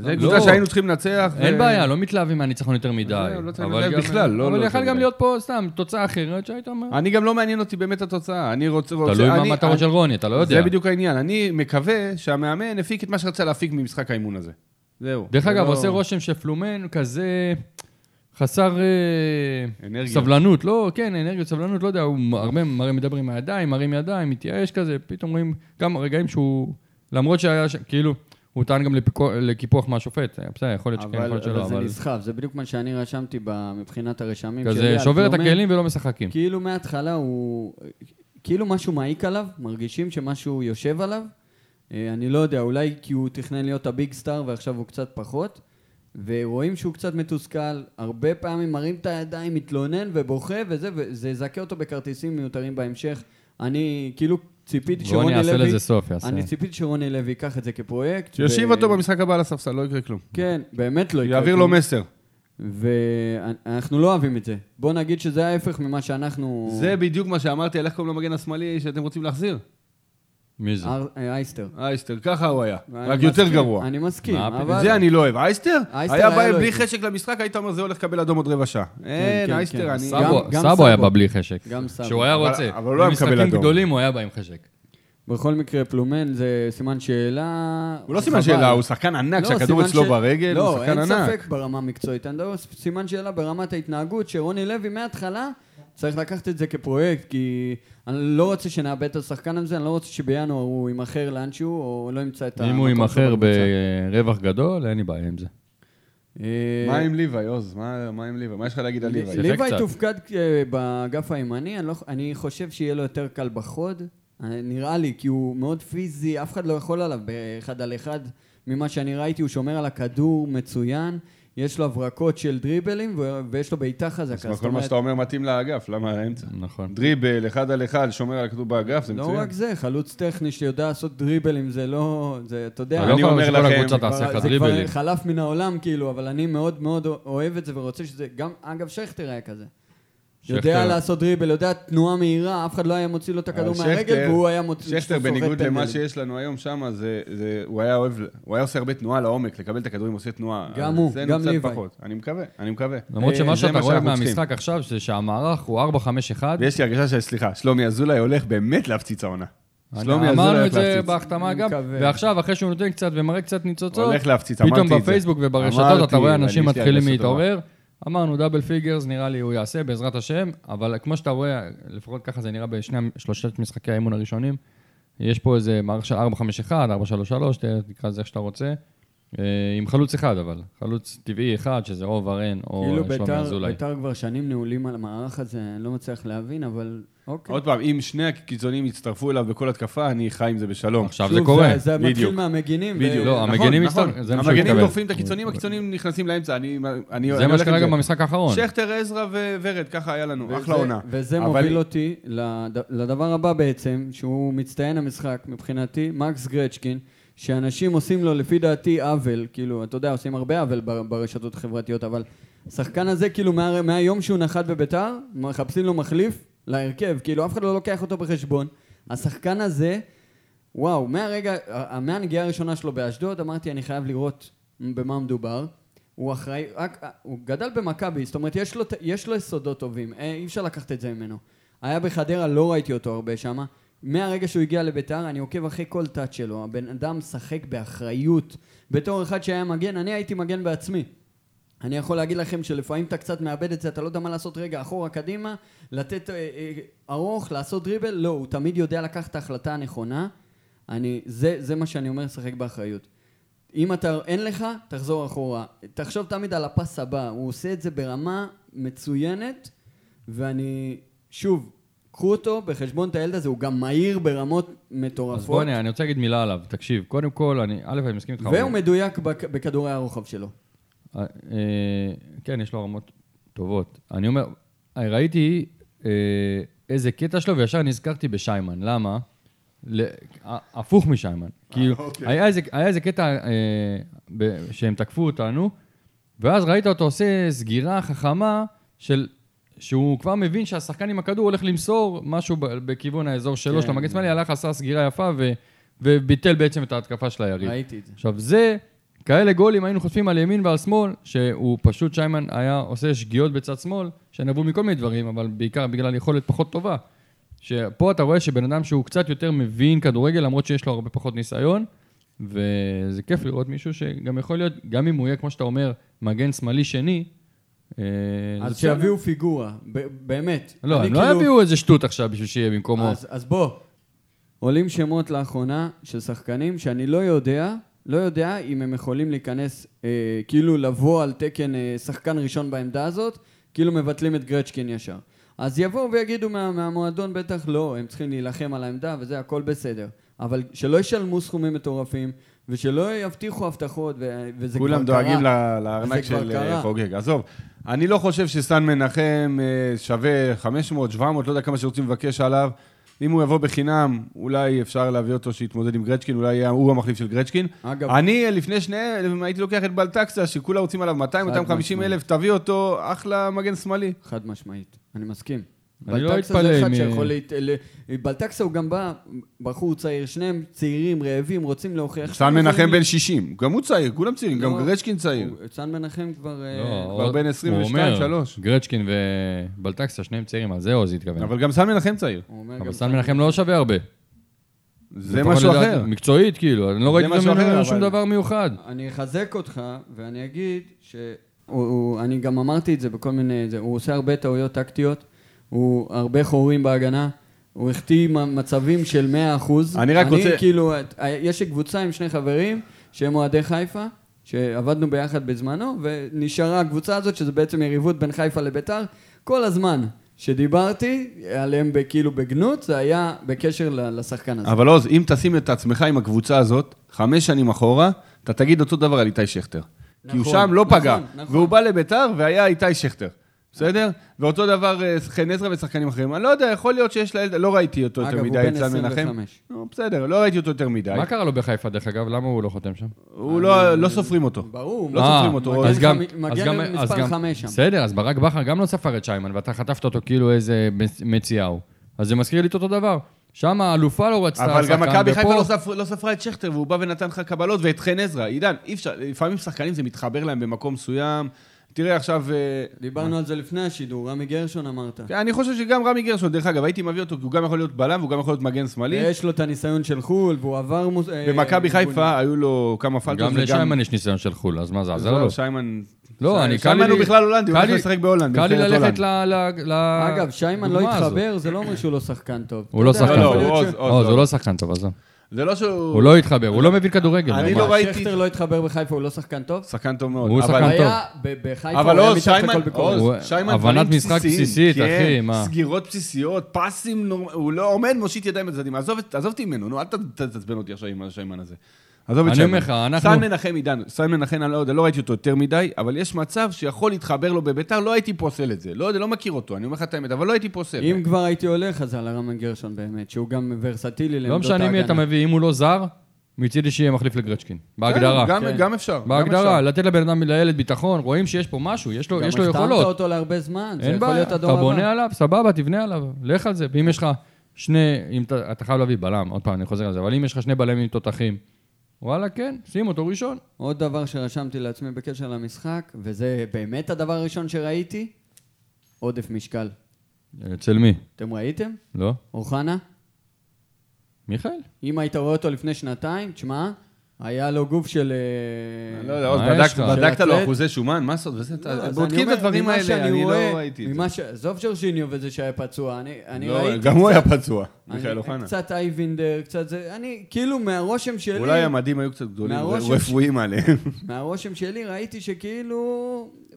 S2: זו
S4: לא.
S2: קבוצה שהיינו צריכים לנצח. ו-
S4: אין בעיה, לא מתלהבים מהניצחון יותר מדי.
S2: לא צריך
S4: אבל
S2: להתלהב
S4: גם-
S2: בכלל, לא-
S4: אבל
S2: לא
S4: יכול
S2: יותר
S4: גם
S2: מדי.
S4: להיות פה סתם תוצאה אחרת שהיית אומר...
S2: אני גם לא מעניין אותי באמת התוצאה. אני רוצה...
S4: תלוי
S2: רוצה-
S4: מה
S2: אני-
S4: המטרות של רוני, אתה לא יודע.
S2: זה בדיוק העניין. אני מקווה שהמאמן הפיק את מה שרצה להפיק ממשחק האימון הזה. זהו.
S4: דרך
S2: זה
S4: אגב,
S2: לא-
S4: עושה רושם שפלומן כזה חסר אה,
S2: אנרגיות.
S4: סבלנות, לא, כן, אנרגיות, סבלנות, לא יודע, הוא מ- הרבה מראה- מדבר עם הידיים, מרים ידיים, מתייאש כזה, פתאום רואים כמה רגעים שהוא, למרות שהיה, ש- כאילו, הוא טען גם לפיקו- לקיפוח מהשופט, אה, בסדר, יכול להיות שכן, יכול
S3: אבל
S4: להיות
S3: אבל
S4: שלא,
S3: זה
S4: אבל
S3: נסחב, זה בדיוק מה שאני רשמתי ב- מבחינת הרשמים שלי.
S4: כזה
S3: על
S4: שובר את
S2: לא
S3: פלומן.
S4: הכלים ולא משחקים.
S3: כאילו מההתחלה הוא... כאילו משהו מעיק עליו, מרגישים שמשהו יושב עליו. אה, אני לא יודע, אולי כי הוא תכנן להיות הביג סטאר ועכשיו הוא קצת פחות. ורואים שהוא קצת מתוסכל, הרבה פעמים מרים את הידיים, מתלונן ובוכה וזה, וזה יזכה אותו בכרטיסים מיותרים בהמשך. אני כאילו ציפיתי
S4: רוני
S3: שרוני
S4: יעשה
S3: לוי...
S4: לזה סוף, יעשה.
S3: אני ציפיתי שרוני לוי ייקח את זה כפרויקט.
S2: שיושיב
S3: ו-
S2: אותו במשחק הבא על הספסל, לא יקרה כלום.
S3: כן, באמת לא יקרה.
S2: יעביר
S3: כלום.
S2: לו מסר.
S3: ואנחנו לא אוהבים את זה. בוא נגיד שזה ההפך ממה שאנחנו...
S2: זה בדיוק מה שאמרתי על איך קוראים למגן השמאלי שאתם רוצים להחזיר.
S4: מי זה?
S3: אר- אה, אייסטר.
S2: אייסטר, ככה הוא היה.
S3: אני
S2: רק יותר
S3: מסכים,
S2: גרוע.
S3: אני מסכים,
S4: מה
S3: אבל...
S2: את זה אני לא אוהב. אייסטר?
S3: אייסטר
S2: היה
S3: היה
S2: בא
S3: לו
S2: בלי
S3: את זה.
S2: חשק למשחק, היית אומר, זה הולך לקבל אדום עוד רבע שעה. אין,
S3: כן, כן.
S2: אייסטר, אני...
S3: גם-
S4: סבו-
S3: גם
S4: סבו היה
S3: סבו.
S4: בא בלי חשק.
S3: גם סבו.
S4: שהוא היה
S2: אבל-
S4: רוצה.
S2: אבל הוא לא היה מקבל
S4: במשחקים
S2: אדום.
S4: גדולים הוא היה בא עם חשק.
S3: בכל מקרה, פלומן זה סימן שאלה...
S2: הוא לא סימן
S3: חבל.
S2: שאלה, הוא שחקן ענק
S3: לא,
S2: שהכדור
S3: סימן
S2: אצלו
S3: ש-
S2: ברגל, הוא שחקן ענק.
S3: לא, אין ספק ברמה המקצועית. אני מדבר סימן שאלה ברמת ההתנהגות, שרוני לוי מההתחלה צריך לקחת את זה כפרויקט, כי אני לא רוצה שנאבד את השחקן הזה, אני לא רוצה שבינואר הוא יימכר לאנשהו, או לא ימצא את
S4: אם הוא
S3: המקום שלו
S4: יימכר
S3: בקבוצה.
S4: ברווח גדול, אין לי בעיה עם זה.
S3: אה,
S2: מה עם ליוואי, עוז? מה מה עם ליוואי? מה יש לך להגיד על ליוואי?
S4: שיחק
S3: ליוואי
S4: קצת.
S3: תופקד אה, באגף הימני, אני לא- אני חושב שיהיה לו יותר קל בחוד, אה, נראה לי, כי הוא מאוד פיזי, אף אחד לא יכול עליו באחד על אחד. ממה שאני ראיתי, הוא שומר על הכדור מצוין, יש לו הברקות של דריבלים ו- ויש לו בעיטה חזקה.
S2: כל מה שאתה אומר מתאים לאגף, למה האמצע?
S4: נכון.
S2: דריבל, אחד על אחד, שומר על הכדור באגף, זה
S3: לא
S2: מצוין.
S3: רק זה, חלוץ טכני שיודע לעשות דריבלים, זה לא... זה, אתה יודע...
S4: אתה לא
S2: אני
S4: יכול
S2: אומר
S4: שכל
S2: לכם,
S4: הקבוצה
S2: זה
S4: תעשה לך
S3: זה כבר
S4: דריבלים.
S3: חלף מן העולם, כאילו, אבל אני מאוד מאוד אוהב את זה ורוצה שזה... גם, אגב, שכטר היה כזה. יודע
S4: שכטר-
S3: לעשות דריבל, יודע תנועה מהירה, אף אחד לא היה מוציא לו את הכדור
S2: אבל שכטר-
S3: מהרגל, והוא היה
S2: שכטר,
S3: מוציא... שורט
S2: בניגוד למה
S3: פנדלים.
S2: שיש לנו היום שם, זה, זה, הוא היה אוהב, הוא היה עושה הרבה תנועה לעומק, לקבל את הכדורים, עושה תנועה.
S3: גם
S2: אז
S3: הוא,
S2: אצלנו
S3: גם
S2: קצת
S3: ליוואי.
S2: פחות. אני מקווה, אני מקווה.
S4: למרות
S2: אה,
S4: שמה
S2: זה
S4: שאתה רואה
S2: שאנחנו צריכים.
S4: מהמשחק עכשיו, זה שהמערך הוא 4-5-1.
S2: ויש לי הרגשה של, סליחה, שלומי אזולאי הולך באמת להפציץ העונה. שלומי אזולאי
S4: אמרנו את
S2: הולך
S4: זה
S2: להפציץ.
S4: בהחתמה
S3: אני
S4: גם,
S3: מקווה.
S4: ועכשיו, אחרי שהוא נותן קצת ומראה קצת ניצוצות,
S2: הולך להפציץ,
S4: פתאום
S2: אמרתי את זה.
S4: בפייסבוק
S2: אמרתי,
S4: וברשתות אתה רואה
S2: ואני,
S4: אנשים
S2: יש לי
S4: מתחילים
S2: הרגשה טובה.
S4: להתעורר. אמרנו דאבל פיגרס, נראה לי הוא יעשה בעזרת השם, אבל כמו שאתה רואה, לפחות ככה זה נראה בשני, המ- שלושת משחקי האימון הראשונים, יש פה איזה מערך של 451, 433, ת- תקרא לזה איך שאתה רוצה, אה, עם חלוץ אחד אבל, חלוץ טבעי אחד, שזה או ורן או
S3: כאילו
S4: שלומי
S3: ביתר-
S4: אזולאי.
S3: ביתר כבר שנים נעולים על המערך הזה, אני לא מצליח להבין, אבל אוקיי.
S2: עוד פעם, אם שני הקיצוניים יצטרפו אליו בכל התקפה, אני חי עם זה בשלום.
S4: עכשיו
S3: שוב,
S4: זה קורה,
S3: זה מתחיל
S2: בדיוק.
S3: מהמגינים. ו-
S2: בדיוק.
S4: לא,
S2: נכון,
S4: המגנים
S2: נכון.
S4: מצטר- זה מה שהוא
S2: המגנים
S4: מקבל.
S2: דוחפים את הקיצונים, הקיצונים נכנסים לאמצע. אני- אני-
S4: זה
S2: אני
S4: מה
S2: הולך
S4: שקרה
S2: עם
S4: גם
S2: זה.
S4: במשחק האחרון.
S2: שכטר, עזרא וורד, ככה היה לנו,
S3: וזה-
S2: כאילו, אחלה עונה.
S3: וזה
S2: אבל-
S3: מוביל אותי לד- לדבר הבא בעצם, שהוא מצטיין המשחק מבחינתי, מקס גרצ'קין, שאנשים עושים לו לפי דעתי עוול, כאילו, אתה יודע, עושים הרבה עוול בר- ברשתות החברתיות, אבל השחקן הזה, כאילו, מה, מהיום שהוא נחת בביתר, מחפשים לו מחליף להרכב, כאילו, אף אחד לא לוקח אותו בחשבון. השחקן הזה, וואו, מהרגע, מהנגיעה הראשונה שלו באשדוד, אמרתי, אני חייב לראות במה מדובר. הוא אחראי, רק, הוא גדל במכבי, זאת אומרת, יש לו, יש לו יסודות טובים, אה, אי אפשר לקחת את זה ממנו. היה בחדרה, לא ראיתי אותו הרבה שמה. מהרגע שהוא הגיע לביתר, אני עוקב אחרי כל תת שלו. הבן אדם משחק באחריות. בתור אחד שהיה מגן, אני הייתי מגן בעצמי. אני יכול להגיד לכם שלפעמים אתה קצת מאבד את זה, אתה לא יודע מה לעשות רגע אחורה, קדימה, לתת אה, אה, ארוך, לעשות דריבל, לא, הוא תמיד יודע לקחת את ההחלטה הנכונה. אני, זה, זה מה שאני אומר, לשחק באחריות. אם אתה, אין לך, תחזור אחורה. תחשוב תמיד על הפס הבא, הוא עושה את זה ברמה מצוינת, ואני, שוב, קחו אותו בחשבון את הילד הזה, הוא גם מהיר ברמות מטורפות.
S4: אז בוא נראה, אני רוצה להגיד מילה עליו. תקשיב, קודם כל, אני, א', אני מסכים איתך.
S3: והוא
S4: אבל-
S3: מדויק בכ- בכדורי הרוחב שלו.
S4: אה, אה, כן, יש לו רמות טובות. אני אומר, אה, ראיתי אה, איזה קטע שלו, וישר נזכרתי בשיימן. למה? ל- ה- הפוך משיימן. כאילו,
S2: אוקיי.
S4: היה איזה- היה איזה קטע אה, ב- שהם תקפו אותנו, ואז ראית אותו עושה סגירה חכמה של... שהוא כבר מבין שהשחקן עם הכדור הולך למסור משהו ב- בכיוון האזור שלו,
S3: כן.
S4: של המגן שמאלי, הלך, עשה סגירה יפה ו- וביטל בעצם את ההתקפה של היריב.
S3: ראיתי את זה.
S4: עכשיו זה, כאלה גולים היינו חוטפים על ימין ועל שמאל, שהוא פשוט, שיימן היה עושה שגיאות בצד שמאל, שנבעו מכל מיני דברים, אבל בעיקר בגלל יכולת פחות טובה. שפה אתה רואה שבן אדם שהוא קצת יותר מבין כדורגל, למרות שיש לו הרבה פחות ניסיון, וזה כיף לראות מישהו שגם יכול להיות, גם אם הוא יהיה, כמו שאתה אומר, מגן שמאלי שני, אה, זה
S3: אז
S4: בסדר.
S3: שיביאו פיגורה, ב- באמת.
S4: לא,
S3: אני
S4: הם לא
S3: כאילו-
S4: יביאו איזה שטות עכשיו בשביל שיהיה במקומו.
S3: אז, אז בוא, עולים שמות לאחרונה של שחקנים שאני לא יודע, לא יודע אם הם יכולים להיכנס, אה, כאילו לבוא על תקן אה, שחקן ראשון בעמדה הזאת, כאילו מבטלים את גרצ'קין ישר. אז יבואו ויגידו מה, מהמועדון בטח לא, הם צריכים להילחם על העמדה וזה, הכל בסדר. אבל שלא ישלמו סכומים מטורפים, ושלא יבטיחו הבטחות, ו- וזה כבר קרה.
S2: כולם דואגים ל- לארנק
S3: זה כבר
S2: של
S3: קרה.
S2: אה, חוגג. עזוב, אני לא חושב שסן מנחם אה, שווה 500, 700, לא יודע כמה שרוצים לבקש עליו. אם הוא יבוא בחינם, אולי אפשר להביא אותו שיתמודד עם גרצ'קין, אולי יהיה הוא המחליף של גרצ'קין.
S3: אגב-
S2: אני, אה, לפני שניהם, הייתי לוקח את בלטקסה, שכולם רוצים עליו 200,
S3: חד
S2: 250 אלף, תביא אותו, אחלה מגן שמאלי.
S3: חד משמעית, אני מסכים.
S4: אני לא
S3: בלטקסה
S4: אתפלא
S3: זה אחד
S4: אם-
S3: שיכול להת... ל- בלטקסה הוא גם בא, בחור צעיר, שניהם צעירים, רעבים, רוצים להוכיח...
S2: סן מנחם בן 60, גם הוא צעיר, כולם צעירים, גם
S3: לא.
S2: גרצ'קין צעיר.
S3: סן מנחם כבר... אה,
S4: לא,
S2: כבר בן 22,
S4: הוא אומר,
S2: 3.
S4: גרצ'קין ובלטקסה, שניהם צעירים, על זה עוז
S3: כן.
S4: התכוון.
S2: אבל גם סן מנחם צעיר.
S3: הוא אומר גם
S4: אבל סן מנחם לא שווה הרבה.
S2: זה
S4: לפחות
S2: משהו
S4: לדעתי,
S2: אחר.
S4: מקצועית, כאילו, אני לא
S2: זה
S4: ראיתי
S2: משהו
S4: ממנו
S2: אחר,
S4: שום
S2: אבל-
S4: דבר מיוחד.
S3: אני אחזק אותך, ואני אגיד ש... הוא, הוא, אני גם אמרתי את זה בכל מיני... זה, הוא עושה הרבה טעויות טקטיות, הוא הרבה חורים בהגנה, הוא החטיא מ- מצבים של 100%.
S2: אני רק רוצה-
S3: אני כאילו... את- יש לי קבוצה עם שני חברים שהם אוהדי חיפה, שעבדנו ביחד בזמנו, ונשארה הקבוצה הזאת, שזה בעצם יריבות בין חיפה לביתר, כל הזמן. שדיברתי עליהם ב- כאילו בגנות, זה היה בקשר ל- לשחקן הזה.
S2: אבל עוז, אם תשים את עצמך עם הקבוצה הזאת, חמש שנים אחורה, אתה תגיד אותו דבר על איתי שכטר. כי הוא
S3: נכון,
S2: שם לא
S3: נכון,
S2: פגע,
S3: נכון.
S2: והוא בא לביתר והיה איתי שכטר. בסדר? ואותו דבר אה, חן עזרא ושחקנים אחרים. אני לא יודע, יכול להיות שיש לילד, לא ראיתי אותו יותר
S3: אגב, הוא
S2: מדי,
S3: בן
S2: אצל מנחם.
S3: 25.
S2: נו, בסדר, לא ראיתי אותו יותר מדי.
S4: מה קרה לו בחיפה, דרך אגב? למה הוא לא חותם שם?
S2: הוא לא לא סופרים אותו.
S3: ברור.
S2: לא
S4: אה,
S2: סופרים אותו.
S4: אז
S2: אז
S4: גם...
S3: מגן
S4: אז גם-
S3: מספר
S4: אז גם-
S3: חמש שם.
S4: בסדר, אז ברק בכר גם לא ספר את שיימן, ואתה חטפת אותו כאילו איזה מצ- מציאהו. אז זה מזכיר לי את אותו דבר. שם האלופה לא רצתה...
S2: אבל גם
S4: שחקן,
S2: מכבי חיפה
S4: ופה-
S2: לא ספר- לא ספרה את שכטר, והוא בא ונתן לך קבלות, ואת חן עזרא. עידן, אי אפשר, לפעמים שחקנים זה מתחבר להם במקום מסוים. תראה עכשיו... אה,
S3: דיברנו על זה לפני השידור, רמי גרשון אמרת.
S2: כן, אני חושב שגם רמי גרשון, דרך אגב, הייתי מביא אותו, כי הוא גם יכול להיות בלם והוא גם יכול להיות מגן שמאלי.
S4: אה,
S3: ויש לו את הניסיון של חו"ל, והוא עבר... מוס- אה,
S2: במכבי
S3: ארגונים.
S2: חיפה היו לו כמה פלטות.
S4: גם לשיימן יש ניסיון של חו"ל, אז מה זה עזר לו?
S2: לא, שיימן...
S4: לא, אני קל לי...
S2: שיימן הוא בכלל הולנדי, הוא
S4: קל
S2: הולך
S4: לי-
S2: לשחק בהולנד.
S4: קל לי
S2: בנבחרת
S4: ללכת
S2: הולנד.
S4: ל... ל- ל-
S3: אגב, שיימן לא
S4: דוגמה הזאת.
S3: התחבר, זה לא אומר שהוא לא שחקן טוב.
S4: הוא לא
S3: אתה יודע,
S4: שחקן
S2: לא,
S3: יכול
S4: טוב.
S2: הוא
S3: להיות
S2: עוז,
S3: ש-
S4: עוז,
S2: עוז.
S4: הוא לא שחקן טוב, עזוב.
S2: זה לא שהוא...
S4: הוא לא התחבר, הוא לא מבין כדורגל.
S2: אני
S4: ממש.
S2: לא ראיתי-
S3: שכטר לא התחבר בחיפה, הוא לא שחקן טוב?
S2: שחקן טוב מאוד.
S4: הוא
S2: אבל-
S4: שחקן טוב.
S3: היה, ב- בחיפה הוא
S2: אבל
S3: היה
S2: עוז,
S3: מתחת
S2: שיימן,
S3: לכל ביקורת.
S4: הוא-
S2: עוז, שיימן,
S4: הבנת
S2: דברים
S4: משחק
S2: בסיסיים,
S4: בסיסית,
S2: כן,
S4: אחי, מה?
S2: סגירות בסיסיות, פסים, נור- הוא לא עומד, מושיט ידיים לצדדים. עזוב את- עזוב אותי ממנו, נו, אל ת- ת- תעצבן אותי עכשיו עם השיימן הזה. עזוב את
S4: אני
S2: שיימן.
S4: אומר לך, אנחנו-
S2: סן מנחם עידן, סן מנחם, אני לא יודע, לא ראיתי אותו יותר מדי, אבל יש מצב שיכול להתחבר לו בביתר, לא הייתי פוסל את זה. לא יודע, לא מכיר אותו, אני אומר לך את האמת, אבל לא הייתי פוסל.
S3: אם כבר הייתי הולך, אז על הרמן גרשון באמת, שהוא גם ורסטילי
S4: לא
S3: לעמדות ההגנה.
S4: משנה מי אתה מביא, אם הוא לא זר, מצידי שיהיה מחליף לגרצ'קין. בהגדרה.
S2: כן, גם-
S3: כן.
S2: גם אפשר. גם
S4: בהגדרה,
S2: אפשר.
S4: לתת לבן אדם, לילד ביטחון, רואים שיש פה משהו, יש לו
S3: גם
S4: יש לו
S3: החתמת
S4: יכולות.
S3: אותו להרבה זמן, זה
S4: אין
S3: יכול
S4: בעיה,
S3: להיות הדור
S4: אתה
S3: הבא.
S4: בונה עליו, סבבה, תבנה עליו, לך על זה. ואם יש לך שני, אם אתה אתה חייב להביא בלם, עוד פעם, אני חוזר על זה, אבל אם יש לך שני בלמים תותחים, וואלה, כן, שים אותו ראשון.
S3: עוד דבר שרשמתי לעצמי בקשר למשחק, וזה באמת הדבר הראשון שראיתי, עודף משקל.
S4: אצל מי?
S3: אתם ראיתם?
S4: לא?
S3: אוחנה?
S4: מיכאל?
S3: אם היית רואה אותו לפני שנתיים, תשמע, היה לו גוף של... אה,
S2: אני לא יודע, עוז,
S4: מה יש
S2: בדקת-
S4: לך?
S2: בדקת
S3: של
S2: לו
S3: אתלט?
S2: אחוזי שומן, מה לעשות? וזה-
S3: לא, אז אני
S2: בודקים
S3: אומר,
S2: את הדברים
S3: ממה
S2: האלה,
S3: שאני
S2: אני
S3: רואה,
S2: לא ראיתי את זה.
S3: ממה ש- עזוב ג'ורג'יניו וזה שהיה פצוע, אני אני
S2: לא,
S3: ראיתי...
S2: גם הוא היה
S3: קצת-
S2: פצוע,
S3: אני-
S2: מיכאל אוחנה.
S3: קצת אייבינדר, קצת זה, אני, כאילו מהרושם שלי,
S2: אולי המדים היו קצת גדולים,
S3: מהראש
S2: רפואיים
S3: [laughs]
S2: עליהם. [laughs]
S3: מהרושם שלי ראיתי שכאילו,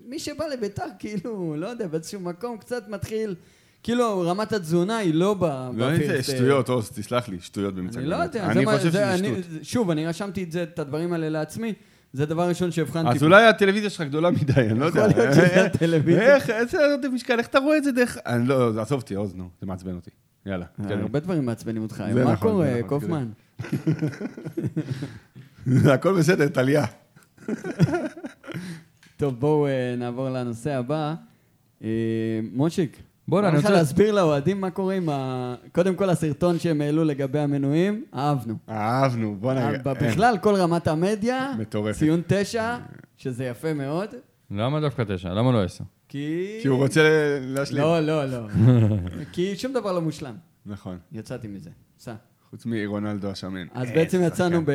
S3: מי שבא לביתר, כאילו, לא יודע, באיזשהו מקום קצת מתחיל, כאילו רמת התזונה היא לא ב...
S2: לא,
S3: בפרסט, אה,
S2: איזה שטויות, עוז, תסלח לי, שטויות במצעד.
S3: אני לא יודע, זה
S2: אני
S3: מה-
S2: חושב
S3: זה-
S2: שזה
S3: אני-
S2: שטות.
S3: זה- שוב, אני רשמתי את זה, את הדברים האלה לעצמי, זה דבר ראשון שהבחנתי.
S2: אז
S3: בו.
S2: אולי הטלוויזיה שלך גדולה מדי, אני לא יודע.
S3: יכול להיות שזה הטלוויזיה.
S2: איך, איזה עודף משקל, איך אתה רואה את זה דרך... אני לא, עזוב אותי, עוז, נו, זה מעצבן אותי. יאללה, כן. תתקדם.
S3: כן, הרבה דברים מעצבנים אותך,
S2: אה. זה
S3: מה
S2: נכון, זה
S3: קורה,
S2: נכון,
S3: קופמן?
S2: [laughs] הכל בסדר, טליה.
S3: טוב, בואו אה, נעבור לנושא הבא. אה, מושיק,
S4: בוא'נה,
S3: בא
S4: אני
S3: לך
S4: רוצה-
S3: להסביר לאוהדים מה קורה עם ה... קודם כל הסרטון שהם העלו לגבי המנויים, אהבנו.
S2: אהבנו, בוא נגיד.
S3: אה, בכלל, כל רמת המדיה,
S2: מטורפת. אה.
S3: ציון תשע, שזה יפה מאוד,
S4: למה דווקא תשע? למה לא עשר?
S3: כי...
S2: כי הוא רוצה להשלים.
S3: לא, לא, לא.
S2: [laughs]
S3: כי שום דבר לא מושלם.
S2: נכון,
S3: יצאתי מזה. סע.
S2: חוץ מרונלדו השמן.
S3: אז
S2: אה,
S3: בעצם
S2: שחקן.
S3: יצאנו ב...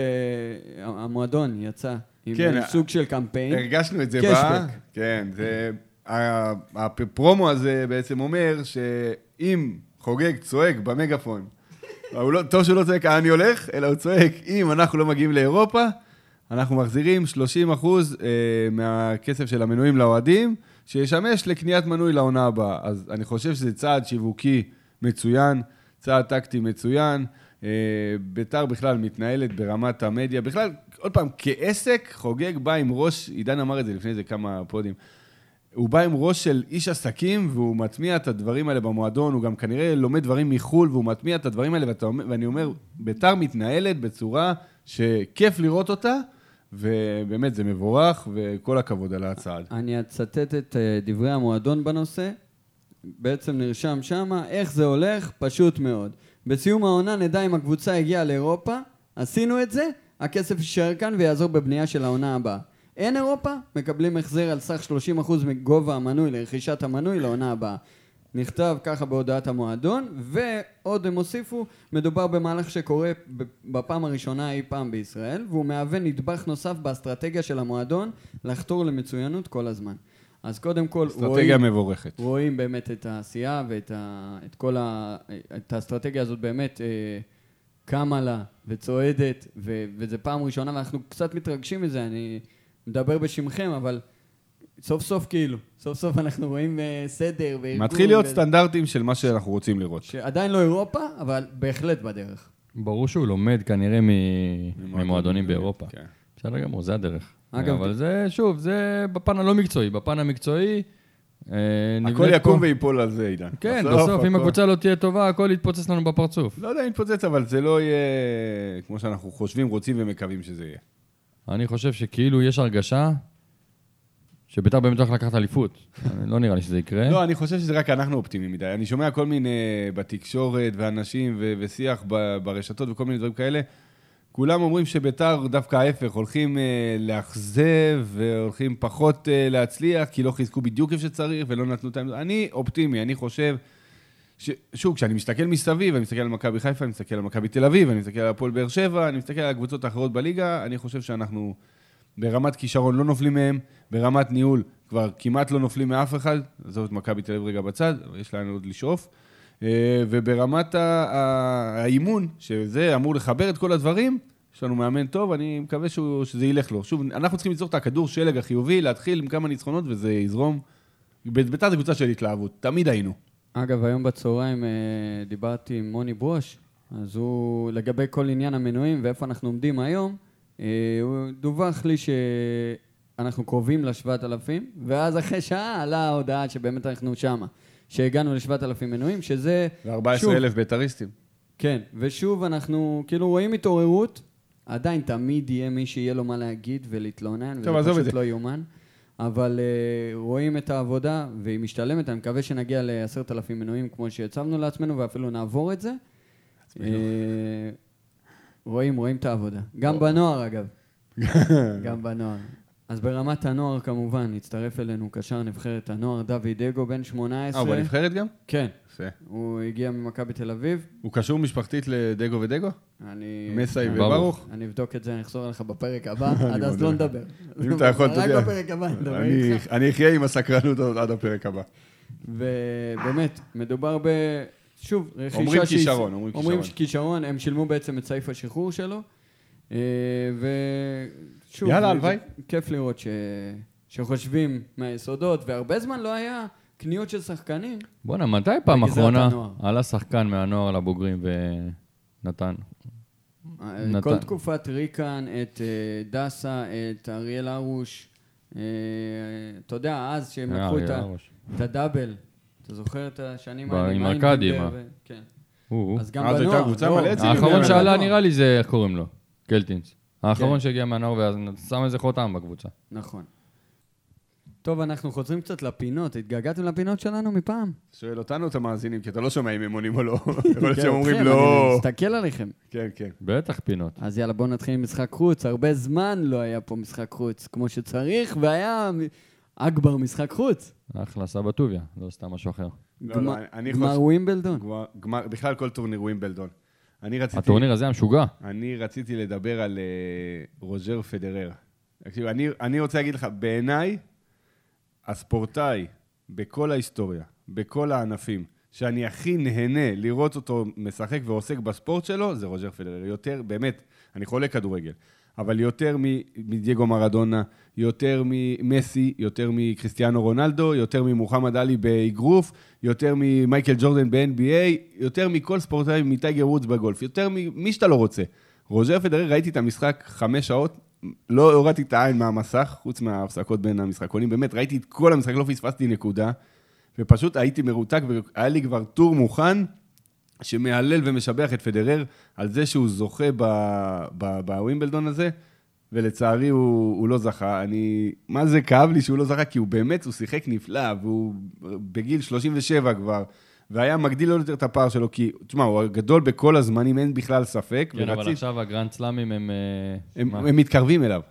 S3: המועדון יצא עם
S2: כן,
S3: עם סוג של קמפיין.
S2: הרגשנו את זה
S3: קשבק.
S2: ב... כן, זה... ה- הפרומו הזה בעצם אומר שאם חוגג צועק במגפון, הוא לא, טוב שהוא לא צועק "אה, אני הולך, אלא הוא צועק אם אנחנו לא מגיעים לאירופה, אנחנו מחזירים 30 אחוז אה, מהכסף של המנויים לאוהדים, שישמש לקניית מנוי לעונה הבאה. אז אני חושב שזה צעד שיווקי מצוין, צעד טקטי מצוין. אה, ביתר בכלל מתנהלת ברמת המדיה, בכלל, עוד פעם, כעסק חוגג בא עם ראש, עידן אמר את זה לפני איזה כמה פודים, הוא בא עם ראש של איש עסקים, והוא מטמיע את הדברים האלה במועדון, הוא גם כנראה לומד דברים מחו"ל, והוא מטמיע את הדברים האלה, ואתה, אומר- ואני אומר, ביתר מתנהלת בצורה שכיף לראות אותה, ובאמת זה מבורך, וכל הכבוד על הצעד.
S3: אני אצטט את אה, דברי המועדון בנושא, בעצם נרשם שמה, איך זה הולך, פשוט מאוד. בסיום העונה נדע אם הקבוצה הגיעה לאירופה, עשינו את זה, הכסף יישאר כאן ויעזור בבנייה של העונה הבאה. אין אירופה, מקבלים החזר על סך 30% מגובה המנוי לרכישת המנוי לעונה הבאה. נכתב ככה בהודעת המועדון, ועוד הם הוסיפו, מדובר במהלך שקורה ב- בפעם הראשונה אי פעם בישראל, והוא מהווה נדבך נוסף באסטרטגיה של המועדון לחתור למצוינות כל הזמן. אז קודם כל,
S2: אסטרטגיה מבורכת.
S3: רואים באמת את העשייה ואת ה, את כל ה, את האסטרטגיה הזאת באמת אה, קמה לה וצועדת, ו, וזה פעם ראשונה ואנחנו קצת מתרגשים מזה, אני מדבר בשמכם, אבל סוף סוף כאילו, סוף סוף אנחנו רואים אה, סדר וארגון.
S2: מתחיל להיות
S3: ו-
S2: סטנדרטים של מה שאנחנו רוצים לראות.
S3: שעדיין לא אירופה, אבל בהחלט בדרך.
S4: ברור שהוא לומד כנראה מ- ממועדונים באירופה.
S2: כן.
S4: בסדר גמור, זה הדרך.
S3: אגב,
S4: אבל זה, שוב, זה בפן הלא מקצועי. בפן המקצועי, אה,
S2: הכל
S4: נבנית
S2: יקום
S4: פה-
S2: ויפול על זה, אילן.
S4: כן, בסוף, אם
S2: הכל-
S4: הקבוצה לא תהיה טובה, הכל יתפוצץ לנו בפרצוף.
S2: לא יודע אם יתפוצץ, אבל זה לא יהיה כמו שאנחנו חושבים, רוצים ומקווים שזה יהיה.
S4: אני חושב שכאילו יש הרגשה שביתר באמת הולך לקחת אליפות. [laughs] אני- לא נראה לי שזה יקרה.
S2: לא, אני חושב שזה רק אנחנו אופטימיים מדי. אני שומע כל מיני בתקשורת ואנשים ו- ושיח ב- ברשתות וכל מיני דברים כאלה. כולם אומרים שביתר דווקא ההפך, הולכים אה, לאכזב והולכים פחות אה, להצליח, כי לא חיזקו בדיוק איפה שצריך ולא נתנו את ה... אני אופטימי, אני חושב... ש... שוב, כשאני מסתכל מסביב, אני מסתכל על מכבי חיפה, אני מסתכל על מכבי תל אביב, אני מסתכל על הפועל באר שבע, אני מסתכל על הקבוצות האחרות בליגה, אני חושב שאנחנו ברמת כישרון לא נופלים מהם, ברמת ניהול כבר כמעט לא נופלים מאף אחד, עזוב את מכבי תל אביב רגע בצד, אבל יש לנו עוד לשאוף, אה, וברמת ה- ה- האימון, שזה אמור לחבר את כל הדברים, יש לנו מאמן טוב, אני מקווה שהוא, שזה ילך לו. שוב, אנחנו צריכים ליצור את הכדור שלג החיובי, להתחיל עם כמה ניצחונות וזה יזרום. בית"ר זו קבוצה של התלהבות, תמיד היינו.
S3: אגב, היום בצהריים אה, דיברתי עם מוני ברוש, אז הוא, לגבי כל עניין המנויים ואיפה אנחנו עומדים היום, אה, הוא דווח לי שאנחנו קרובים ל-7,000, ואז אחרי שעה עלה ההודעה שבאמת אנחנו שמה, שהגענו ל-7,000 מנויים, שזה... שוב,
S2: ו-14,000 בית"ריסטים.
S3: כן, ושוב אנחנו כאילו רואים התעוררות, עדיין תמיד יהיה מי שיהיה לו מה להגיד ולהתלונן,
S2: טוב, עזוב
S3: וזה
S2: את
S3: פשוט
S2: זה.
S3: לא יאומן, אבל uh, רואים את העבודה והיא משתלמת, אני מקווה שנגיע לעשרת אלפים מנויים כמו שהצבנו לעצמנו ואפילו נעבור את זה. אה, רואים, רואים את העבודה. גם בנוער
S2: [laughs]
S3: אגב. גם בנוער. אז ברמת הנוער כמובן, הצטרף אלינו קשר נבחרת הנוער דוד אגו, בן 18.
S2: אה, הוא בנבחרת גם?
S3: כן,
S2: יפה.
S3: הוא הגיע ממכבי תל אביב.
S2: הוא קשור משפחתית לדגו ודגו?
S3: לא, אני...
S2: מסאי
S4: ברוך.
S2: וברוך?
S3: אני אבדוק את זה, אני אחזור אליך
S2: [laughs]
S3: בפרק הבא, עד אז
S2: מודה
S3: לא
S2: לך.
S3: נדבר.
S2: אם אתה יכול, אתה יודע.
S3: רק בפרק הבא נדבר
S2: אני-
S3: איתך.
S2: אני אחיה עם הסקרנות הזאת עד הפרק הבא.
S3: ובאמת, מדובר ב... שוב, רכישה
S2: אומרים
S3: שהיא-
S2: כישרון, אומרים
S3: אומרים
S2: כישרון.
S3: כישרון, הם שילמו בעצם את סעיף השחרור שלו. אה, ושוב,
S2: יאללה,
S3: זה-
S2: הלוואי.
S3: זה כיף לראות ש... שחושבים מהיסודות, והרבה זמן לא היה קניות של שחקנים.
S4: בואנה, מתי פעם
S3: בגזרת
S4: אחרונה
S3: הנוער.
S4: עלה שחקן מהנוער לבוגרים ונתן?
S3: אה,
S4: נתן.
S3: כל תקופת ריקן, את אה, דסה, את אריאל הרוש, אה, אתה יודע, אז שהם
S4: אה,
S3: לקחו את
S4: אריאל
S3: ה-
S4: הרוש.
S3: את הדאבל, אתה זוכר את השנים
S4: ב- עם
S3: האלה?
S4: ארקדי,
S3: בנדר
S4: מה?
S3: ו- כן.
S4: הוא, הוא.
S3: אז גם
S2: אז
S3: בנוער.
S2: אה, הייתה קבוצה
S3: לא,
S2: מלא אה, לא? עצים
S4: האחרון
S2: בנוער.
S4: שעלה נראה לי זה, איך קוראים לו? קלטינס.
S2: כן.
S4: האחרון שהגיע מהנוער ואז שם איזה חותם בקבוצה.
S3: נכון. טוב, אנחנו חוזרים קצת לפינות. התגעגעתם לפינות שלנו מפעם?
S2: שואל אותנו את המאזינים, כי אתה לא שומע אם הם עונים או
S3: [laughs]
S2: לא. יכול להיות
S3: כן,
S2: שהם אומרים
S3: אתכם, אני
S2: לא.
S3: מסתכל עליכם.
S2: כן, כן.
S4: בטח פינות.
S3: אז יאללה, בואו נתחיל עם משחק חוץ. הרבה זמן לא היה פה משחק חוץ כמו שצריך, והיה מ- אכבר משחק חוץ.
S4: אחלה, סבא טוביה, לא סתם משהו אחר.
S2: לא,
S3: גמר-
S2: לא, אני
S3: גמר
S2: חושב...
S3: ווימבלדון.
S2: גמר- גמר- בכלל כל טורניר ווימבלדון. אני רציתי...
S4: הטורניר הזה המשוגע.
S2: אני רציתי לדבר על אה, רוג'ר פדרר. תקשיב, אני, אני רוצה להגיד לך, בעיניי, הספורטאי בכל ההיסטוריה, בכל הענפים, שאני הכי נהנה לראות אותו משחק ועוסק בספורט שלו, זה רוג'ר פדרר. יותר, באמת, אני חולה כדורגל, אבל יותר מ- מדייגו מרדונה, יותר ממסי, יותר מקריסטיאנו רונלדו, יותר ממוחמד עלי באגרוף, יותר ממייקל ג'ורדן ב-NBA, יותר מכל ספורטאי מטייגר וודס בגולף, יותר ממי שאתה לא רוצה. רוג'ר פדרר, ראיתי את המשחק חמש שעות, לא הורדתי את העין מהמסך, חוץ מההפסקות בין המשחקונים, באמת, ראיתי את כל המשחק, לא פספסתי נקודה, ופשוט הייתי מרותק, והיה לי כבר טור מוכן, שמהלל ומשבח את פדרר על זה שהוא זוכה ב- ב- בווימבלדון הזה, ולצערי הוא, הוא לא זכה. אני, מה זה כאב לי שהוא לא זכה? כי הוא באמת, הוא שיחק נפלא, והוא בגיל 37 כבר,
S4: כן,
S2: והיה מגדיל עוד יותר את הפער שלו, כי, תשמע, הוא הגדול בכל הזמנים, אין בכלל ספק,
S4: כן, אבל
S2: ורציתי-
S4: עכשיו הגרנד סלאמים הם... אה,
S2: הם,
S4: מה?
S2: הם מתקרבים אליו.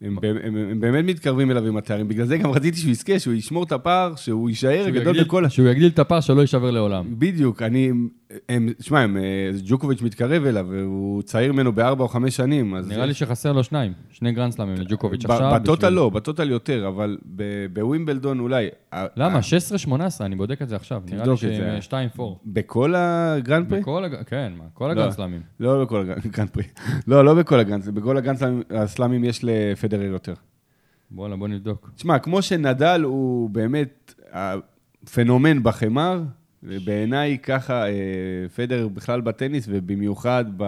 S2: הם, הם, הם, הם באמת מתקרבים אליו עם התארים. בגלל זה גם רציתי שהוא יזכה, שהוא ישמור את הפער, שהוא יישאר
S4: שהוא
S2: גדול
S4: יגדיל-
S2: בכל...
S4: שהוא יגדיל את הפער שלא יישבר לעולם.
S2: בדיוק, אני... הם, שמע, הם, אה, ג'וקוביץ' מתקרב אליו, והוא צעיר ממנו בארבע או חמש שנים, אז...
S4: נראה לי שחסר לו שניים, שני גרנד סלאמים לג'וקוביץ'
S2: ב-
S4: עכשיו.
S2: בטוטל
S4: בשביל-
S2: לא, בטוטל יותר, אבל ב- בווימבלדון אולי... אה, ה-
S4: למה?
S2: ה-
S4: 16-18, אני בודק את זה עכשיו. נראה לי
S2: תבדוק את זה.
S4: שהם 2-4.
S2: בכל הגרנד פרי?
S4: בכל הג... כן, מה, כל
S2: לא.
S4: הגרנד סלאמים.
S2: לא בכל הגרנד פרי. [laughs] לא, לא בכל הגרנד, בכל הגרנד סלאמים- הסלאמים יש לפדרר יותר.
S4: וואלה, בוא נבדוק.
S2: תשמע, כמו שנדל הוא באמת הפנומן בחמר, ובעיניי ככה אה, פדר בכלל בטניס, ובמיוחד ב...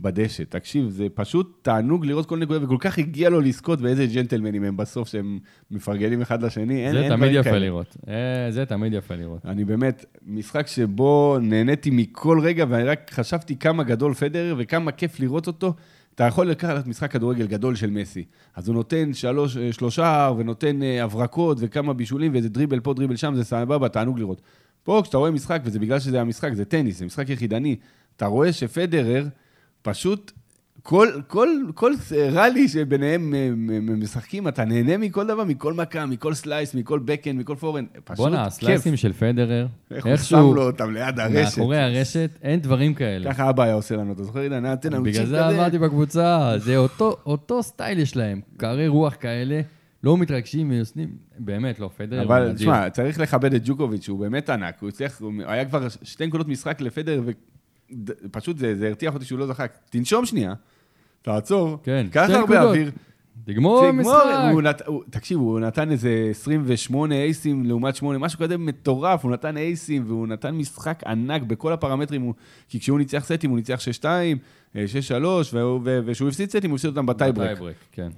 S2: בדשא. תקשיב, זה פשוט תענוג לראות כל נקודה, וכל כך הגיע לו לזכות באיזה ג'נטלמנים הם בסוף, שהם מפרגנים אחד לשני. אין-
S4: זה
S2: אין
S4: תמיד
S2: דברים
S4: יפה
S2: כאלה.
S4: לראות. אה, זה תמיד יפה לראות.
S2: אני באמת, משחק שבו נהניתי מכל רגע, ואני רק חשבתי כמה גדול פדרר וכמה כיף לראות אותו. אתה יכול לקחת משחק כדורגל גדול של מסי. אז הוא נותן שלוש, אה, שלושה ונותן אה, הברקות וכמה בישולים ואיזה דריבל פה, דריבל שם, זה סבבה, תענוג לראות. פה כשאתה רואה משחק, וזה בגלל שזה המשחק, זה טניס, זה משחק יחידני, אתה רואה שפדרר פשוט כל, כל, כל ראלי שביניהם אה, מ- מ- משחקים, אתה נהנה מכל דבר, מכל מכה, מכל סלייס, מכל בקן, מכל פורן, פשוט
S4: בואנה,
S2: כיף.
S4: הסלייסים של פדרר,
S2: איך הוא שם
S4: איכשהו
S2: לו אותם ליד הרשת.
S4: מאחורי הרשת, אין דברים כאלה.
S2: ככה אבא היה עושה לנו, אתה זוכר, אילן? היה נותן לנו צ'יפ
S4: בגלל
S2: כזה.
S4: זה אמרתי בקבוצה, זה אותו- אותו סטייל יש להם, קרי רוח כאלה, לא מתרגשים ועושים, באמת, לא, פדרר הוא
S2: אבל
S4: נדיר.
S2: תשמע, צריך לכבד את ג'וקוביץ', הוא באמת ענק, הוא הצליח, הוא היה כבר שתי נקודות משחק לפדר, ופשוט זה זה הרתיח אותי שהוא לא זחק. תנשום שנייה, תעצור,
S4: כן,
S2: קח
S4: שתי
S2: הרבה
S4: נקודות.
S2: אוויר.
S4: תגמור משחק.
S2: הוא נת- הוא- תקשיב, הוא נתן איזה 28 אייסים לעומת 8, משהו כזה מטורף, הוא נתן אייסים והוא נתן משחק ענק בכל הפרמטרים, הוא- כי כשהוא ניצח סטים הוא ניצח 6-2, אה, 6-3, והוא- ו- וכשהוא הפסיד סטים הוא הפסיד אותם בטייברק.
S4: טייברק, כן.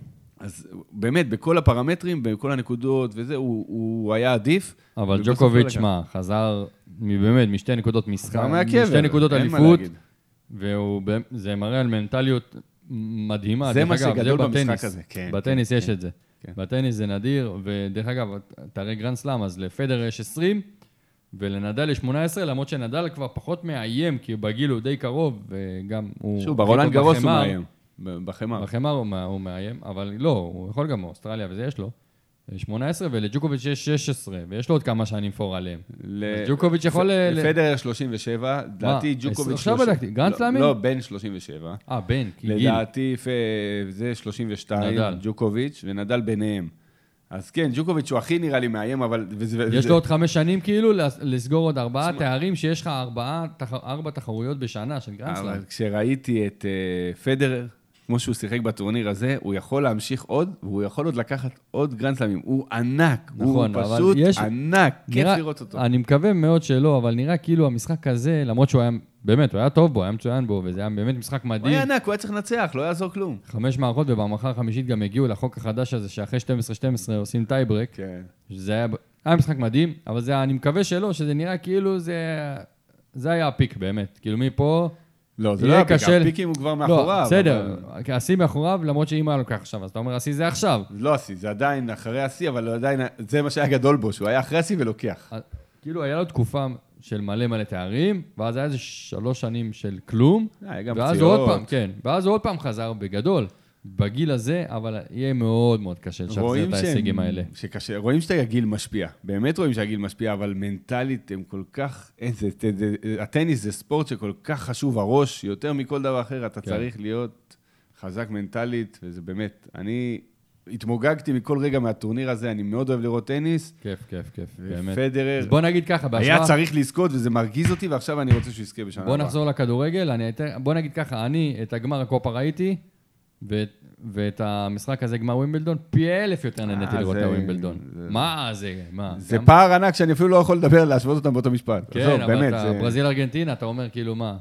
S2: אז באמת, בכל הפרמטרים, בכל הנקודות וזה, הוא, הוא היה עדיף.
S4: אבל
S2: ובסוף לא
S4: ג'וקוביץ',
S2: לקח.
S4: שמע, חזר מ- באמת משתי נקודות משחק,
S2: חזר מהקבר,
S4: משתי נקודות
S2: אין מה
S4: אליפות,
S2: להגיד.
S4: וזה מראה על מנטליות מדהימה.
S2: זה
S4: דרך
S2: מה
S4: אגב,
S2: שגדול במשחק
S4: בטניס.
S2: הזה, כן,
S4: בטניס יש את זה.
S2: כן.
S4: בטניס זה נדיר, ודרך אגב, תראה גרנד סלאם, אז לפדר יש 20, ולנדל יש 18, למרות שנדל כבר פחות מאיים, כי בגיל הוא די קרוב, וגם הוא...
S2: שוב,
S4: הכי
S2: ברולנד
S4: טוב
S2: גרוס הוא
S4: בחמר.
S2: מאיים. ב- בחמר.
S4: בחמר הוא מה- הוא מאיים, אבל לא, הוא יכול גם מאוסטרליה, וזה יש לו. 18, ולג'וקוביץ' יש 16, ויש לו עוד כמה שנים פור עליהם.
S2: ל-
S4: אז ג'וקוביץ' יכול ל- ל-
S2: לפדר 37, לדעתי ג'וקוביץ'...
S4: עכשיו
S2: 30
S4: בדקתי, גרנד
S2: לא,
S4: סלאמים?
S2: לא, בן 37.
S4: אה, בן, כי גיל.
S2: לדעתי פ- זה 32,
S4: נדל.
S2: ג'וקוביץ' ונדל ביניהם. אז כן, ג'וקוביץ' הוא הכי נראה לי מאיים, אבל... וזה-
S4: יש
S2: וזה-
S4: לו עוד חמש שנים כאילו לס- לסגור עוד ארבעה תארים, שיש לך ארבעה תח- ארבע תחרויות בשנה של גרנדסלאם.
S2: אבל כשראיתי את אה, פדרר, כמו שהוא שיחק בטורניר הזה, הוא יכול להמשיך עוד, והוא יכול עוד לקחת עוד גרנדסלמים. הוא ענק, הוא
S4: נכון, אבל
S2: פשוט
S4: יש-
S2: ענק, כיף
S4: נראה-
S2: לראות אותו.
S4: אני מקווה מאוד שלא, אבל נראה כאילו המשחק הזה, למרות שהוא היה, באמת, הוא היה טוב בו, היה מצוין בו, וזה היה באמת משחק
S2: הוא היה
S4: מדהים.
S2: ענק, הוא היה צריך לנצח, לא יעזור כלום.
S4: חמש מערכות, ובמערכה החמישית גם הגיעו לחוק החדש הזה, שאחרי 12-12 עושים טייברק.
S2: כן.
S4: שזה היה, היה משחק מדהים, אבל זה, אני מקווה שלא, שזה נראה כאילו זה, זה היה הפיק באמת. כאילו מפה...
S2: לא, זה
S4: יהיה
S2: לא היה פיק,
S4: קשה-
S2: הפיקים הוא כבר מאחוריו.
S4: לא, בסדר,
S2: אבל-
S4: כי השיא מאחוריו, למרות שאם היה לוקח עכשיו, אז אתה אומר, השיא זה עכשיו.
S2: לא השיא, זה עדיין אחרי השיא, אבל הוא עדיין, זה מה שהיה גדול בו, שהוא היה אחרי השיא ולוקח.
S4: אז- כאילו, היה לו תקופה של מלא מלא תארים, ואז היה איזה שלוש שנים של כלום,
S2: אה, היה גם
S4: ואז הוא
S2: פציעות.
S4: עוד פעם, כן, ואז הוא עוד פעם חזר בגדול, בגיל הזה, אבל יהיה מאוד מאוד קשה לשחזר
S2: רואים
S4: את
S2: שהם-
S4: ההישגים האלה.
S2: שקשה, רואים שהגיל משפיע. באמת רואים שהגיל משפיע, אבל מנטלית הם כל כך... אין, זה, זה, זה, הטניס זה ספורט שכל כך חשוב הראש, יותר מכל דבר אחר, אתה
S4: כן.
S2: כן. צריך להיות חזק מנטלית, וזה באמת, אני התמוגגתי מכל רגע מהטורניר הזה, אני מאוד אוהב לראות טניס.
S4: כיף, כיף, כיף, באמת.
S2: ופדרר
S4: אז בוא נגיד ככה, בהשוואה...
S2: היה צריך לזכות, וזה מרגיז אותי, ועכשיו אני רוצה שהוא יזכה בשנה הבאה.
S4: בוא נחזור לכדורגל, אני אתן, בוא נגיד ככה, אני את הגמר הקופה ראיתי, ואת, ואת המשחק הזה, גמר ווימבלדון, פי אלף יותר נהניתי
S2: אה,
S4: לראות את
S2: זה-
S4: הווימבלדון.
S2: זה-
S4: מה זה, מה?
S2: זה
S4: גם-
S2: פער ענק שאני אפילו לא יכול לדבר, להשוות אותם באותו משפט.
S4: כן,
S2: עזוב,
S4: אבל
S2: באמת,
S4: אתה
S2: זה-
S4: ברזיל-ארגנטינה, אתה אומר כאילו מה?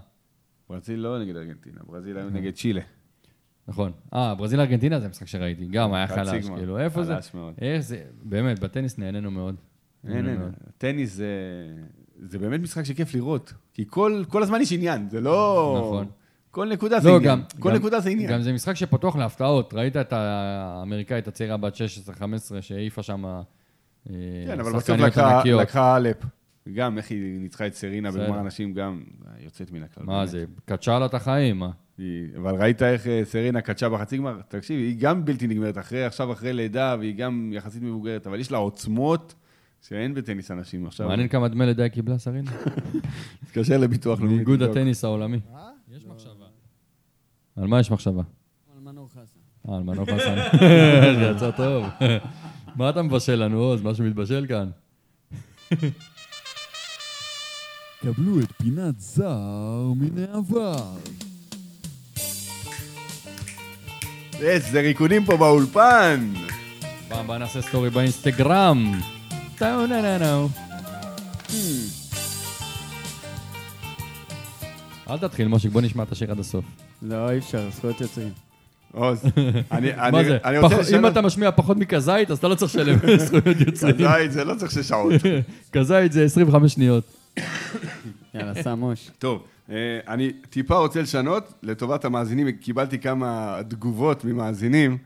S2: ברזיל לא נגד ארגנטינה, ברזיל היו נגד צ'ילה.
S4: נכון. אה, ברזיל-ארגנטינה זה משחק שראיתי, גם היה
S2: חצי
S4: חלש,
S2: גמר.
S4: כאילו, איפה זה?
S2: חלש מאוד.
S4: איך זה, באמת, בטניס נהנינו מאוד.
S2: אין, אין,
S4: מאוד.
S2: טניס זה... זה באמת משחק שכיף לראות. כי כל כל הזמן יש עניין, זה לא...
S4: נכון.
S2: כל נקודה זה
S4: לא,
S2: עניין.
S4: גם...
S2: כל
S4: גם-
S2: נקודה זה עניין.
S4: גם זה משחק שפתוח להפתעות. ראית את האמריקאית הצעירה בת 16-15 שהעיפה שם... אה,
S2: כן, אבל בסוף
S4: שחקניות
S2: לקחה-
S4: ענקיות.
S2: לקחה אלפ. גם איך היא ניצחה את סרינה
S4: בסדר.
S2: בגמר הנשים, גם אה, יוצאת מן הכלל.
S4: מה
S2: באמת.
S4: זה, קדשה לה את החיים, מה?
S2: היא- אבל ראית איך אה, סרינה קדשה בחצי גמר? תקשיב, היא גם בלתי נגמרת אחרי, עכשיו אחרי לידה, והיא גם יחסית מבוגרת, אבל יש לה עוצמות שאין בטניס אנשים עכשיו.
S4: מעניין כמה דמי לידה היא קיבלה, סרינה?
S2: לא תתקשר לביטוח לאומי.
S4: מאיגוד
S2: תבדוק.
S4: הטניס העולמי. יש מחשבה.
S2: לא.
S4: על מה יש מחשבה?
S3: אבל מנור חסן.
S4: אה, על מנוף
S2: [laughs]
S4: חסן. זה יצא טוב. מה אתה מבשל לנו, עוז? משהו מתבשל כאן?
S5: קבלו את פינת זר מן העבר.
S2: איזה ריקודים פה באולפן!
S4: פעם הבאה נעשה סטורי באינסטגרם. טאו נה נה נו.
S2: Hmm.
S4: אל תתחיל, מושיק, בוא נשמע את השיר עד הסוף.
S3: לא, אי אפשר, זכויות יוצרים.
S4: [laughs]
S2: עוז, אני- אני-
S4: מה זה?
S2: אני רוצה
S4: פח-
S2: לשאול...
S4: אם אתה משמיע פחות מכזית, אז אתה לא צריך לשלם [laughs] זכויות יוצרים.
S2: כזית זה לא צריך שש
S4: [laughs]
S2: שעות.
S4: כזית זה 25 שניות.
S2: [laughs]
S3: יאללה, סם מוש.
S2: טוב, אה, אני טיפה רוצה לשנות, לטובת המאזינים, קיבלתי כמה תגובות ממאזינים,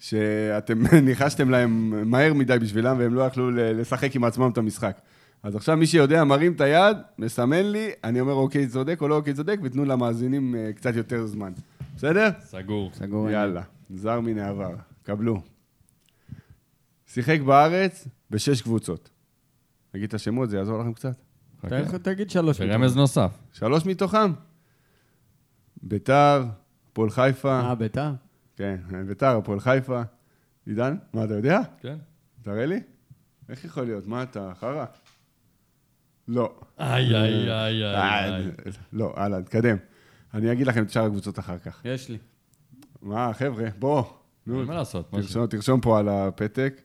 S2: שאתם [laughs] ניחשתם להם מהר מדי בשבילם, והם לא יכלו ל- לשחק עם עצמם את המשחק. אז עכשיו מי שיודע מרים את היד, מסמן לי, אני אומר אוקיי צודק או לא אוקיי צודק, ותנו למאזינים אה, קצת יותר זמן. בסדר?
S4: סגור.
S3: סגור.
S2: יאללה, זר מן העבר, קבלו. שיחק בארץ בשש קבוצות. נגיד את השמות, זה יעזור לכם קצת.
S3: אתה יכול-
S2: אוקיי.
S3: תגיד שלוש.
S4: רמז נוסף.
S2: שלוש מתוכם. ביתר, הפועל
S4: לא-
S2: חיפה,
S3: אה, ביתר?
S2: כן, ביתר, הפועל חיפה. עידן, מה אתה יודע?
S4: כן.
S2: תראה לי. איך יכול להיות? מה אתה, חרא? לא.
S4: איי, איי, איי,
S2: אה,
S4: איי.
S2: לא, הלאה, תקדם. אני אגיד לכם את שאר הקבוצות אחר כך.
S3: יש לי.
S2: מה, חבר'ה, בוא. אה. נו,
S4: כן. מה לעשות? מה זה?
S2: תרשום- תרשום פה על הפתק.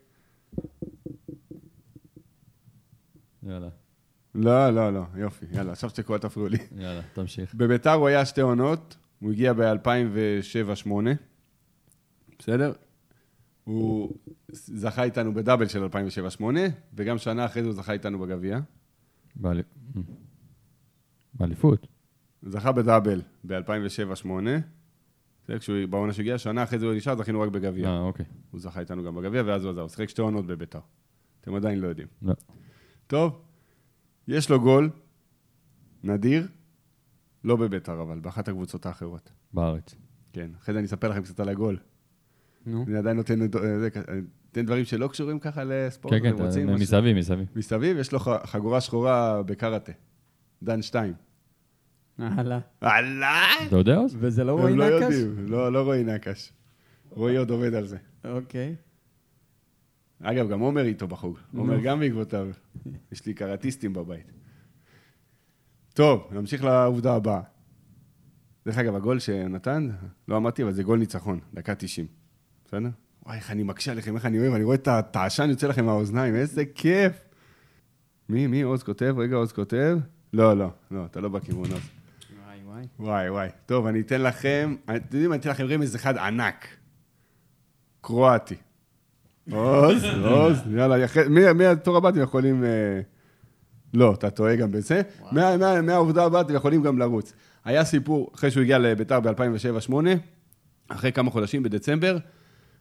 S4: יאללה,
S2: לא, לא, לא, יופי. יאללה, עכשיו תקוע, תפריעו לי. [laughs]
S4: יאללה, תמשיך.
S2: בביתר הוא היה שתי עונות, הוא הגיע ב-2007-2008, בסדר? הוא זכה איתנו בדאבל של 2007-2008, וגם שנה אחרי זה הוא זכה איתנו בגביע.
S4: באלי-
S2: אה.
S4: באליפות.
S2: זכה בדאבל ב-2007-2008, בסדר? כשהוא- בעונה שהגיע, שנה אחרי זה הוא נשאר, זכינו רק בגביע.
S4: אה, אוקיי.
S2: הוא זכה איתנו גם בגביע, ואז הוא עזב. הוא שיחק שתי עונות בביתר. אתם עדיין לא יודעים.
S4: לא.
S2: טוב, יש לו גול, נדיר, לא בביתר אבל, באחת הקבוצות האחרות.
S4: בארץ.
S2: כן, אחרי זה אני אספר לכם קצת על הגול.
S3: נו.
S2: אני עדיין נותן, אה, זה, אני נותן דברים שלא קשורים ככה לספורט,
S4: כן, כן,
S2: אתם רוצים?
S4: אתה-
S2: משהו?
S4: מסביב, מסביב.
S2: מסביב יש לו ח- חגורה שחורה בקראטה. דן שתיים.
S3: הלאה.
S2: וואלה!
S4: אתה יודע עוז?
S3: וזה לא רועי
S2: הם לא
S3: נקש?
S2: יודעים, לא, לא רועי נקש. רועי עוד עובד על זה.
S3: אוקיי.
S2: אגב, גם עומר איתו בחוג. עומר גם בעקבותיו. יש לי קראטיסטים בבית. טוב, נמשיך לעובדה הבאה. דרך אגב, הגול שנתן, לא אמרתי, אבל זה גול ניצחון, דקה 90. בסדר? וואי, איך אני מקשה עליכם, איך אני אוהב, אני רואה את ה- את העשן יוצא לכם מהאוזניים, איזה כיף. מי, מי עוז כותב? רגע, עוז כותב? לא, לא, לא, אתה לא בכיוון, עוז.
S3: וואי וואי.
S2: וואי, וואי. טוב, אני אתן לכם, אתם יודעים, אני אתן לכם רמז אחד ענק. קרואטי. עוז, עוז, יאללה, יח- מי- מי התור הבא אתם יכולים... אה, לא, אתה טועה גם בזה. מה- מה- מהעובדה הבאה אתם יכולים גם לרוץ. היה סיפור, אחרי שהוא הגיע לביתר ב-2007-2008, אחרי כמה חודשים בדצמבר,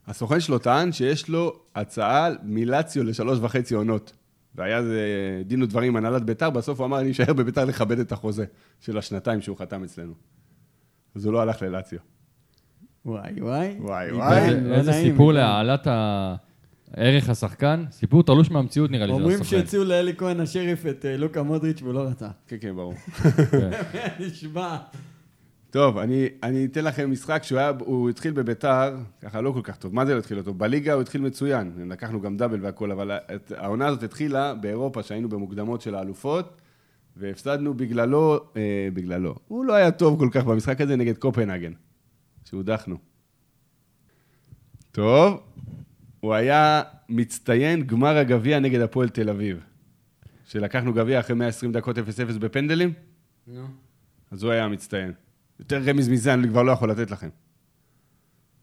S2: הסוכן שלו טען שיש לו הצעה מלציו לשלוש וחצי עונות. והיה זה דין ודברים עם הנהלת ביתר, בסוף הוא אמר, אני אשאר בביתר לכבד את החוזה של השנתיים שהוא חתם אצלנו. אז הוא לא הלך ללציו.
S3: וואי וואי.
S2: וואי,
S3: עידן,
S2: וואי.
S3: לא
S4: איזה
S3: נעים,
S4: סיפור
S3: עידן.
S4: להעלת ה- ערך השחקן. סיפור תלוש מהמציאות נראה לי. של
S3: אומרים
S4: הסוכן.
S3: שהציעו לאלי כהן השריף את אה, לוקה מודריץ' והוא לא רצה. [laughs]
S2: כן, כן, ברור.
S3: נשבע.
S2: טוב, אני, אני אתן לכם משחק שהוא היה, הוא התחיל בביתר, ככה לא כל כך טוב. מה זה לא התחיל אותו? בליגה הוא התחיל מצוין, לקחנו גם דאבל והכל, אבל את, העונה הזאת התחילה באירופה, שהיינו במוקדמות של האלופות, והפסדנו בגללו, אה, בגללו. הוא לא היה טוב כל כך במשחק הזה נגד קופנהגן, שהודחנו. טוב, הוא היה מצטיין גמר הגביע נגד הפועל תל אביב, שלקחנו גביע אחרי 120 דקות 0-0 בפנדלים.
S3: נו.
S2: אז הוא היה המצטיין. יותר רמיז מזה אני כבר לא יכול לתת לכם.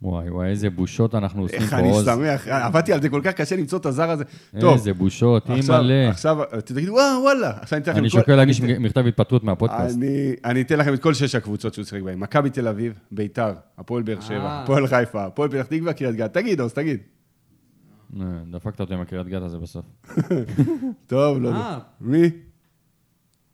S4: וואי, וואי, איזה בושות אנחנו עושים
S2: איך
S4: פה
S2: אני
S4: עוז.
S2: שמח, אה, עבדתי על זה כל כך קשה למצוא את הזר הזה. טוב,
S4: איזה אה, בושות,
S2: עכשיו-
S4: אימא'לה.
S2: עכשיו, אה, אתם תגידו, וואו, וואלה. עכשיו אני אתן לכם
S4: אני
S2: את כל-
S4: שוקל להגיש מכתב התפטרות מהפודקאסט.
S2: אני- אני אתן לכם את כל שש הקבוצות שהוא שיחק בהן. מכבי תל אביב, ביתר, הפועל באר שבע,
S3: אה.
S2: הפועל חיפה, הפועל פתח תקווה, קריית גת. תגיד, עוז, תגיד.
S4: אה, דפקת אותי עם הקריית גת הזה בסוף.
S2: טוב, לא.
S3: אה.
S2: מי?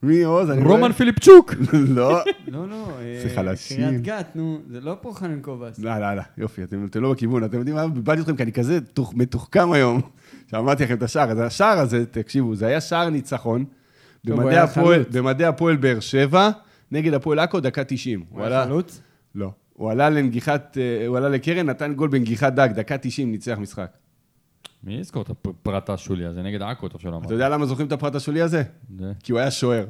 S2: מי עוז? אני
S4: רומן
S2: רואה-
S4: פיליפצ'וק!
S2: לא.
S3: לא, לא. אה,
S2: זה חלשים.
S3: קריית גת, נו. זה לא פה חנן קובס.
S2: לא, לא, לא, יופי, אתם, אתם לא בכיוון. אתם יודעים מה? איבדתי אתכם כי אני כזה תוך- מתוחכם היום, [laughs] שאמרתי לכם את השער. אז השער הזה, תקשיבו, זה היה שער ניצחון
S3: הוא
S2: במדי
S3: היה
S2: הפועל-
S3: חלוץ.
S2: במדי הפועל באר שבע, נגד הפועל עכו, דקה 90.
S3: הוא היה חלוץ?
S2: לא. הוא עלה לנגיחת, אה, הוא עלה לקרן, נתן גול בנגיחת דג, דקה 90, ניצח משחק.
S4: מי יזכור את הפרט
S3: אוקיי.
S4: השולי הזה? נגד עכו, טוב שלא
S2: אתה
S4: אמרת.
S2: יודע למה זוכרים את הפרט השולי הזה?
S4: זה-
S2: כי הוא היה שוער.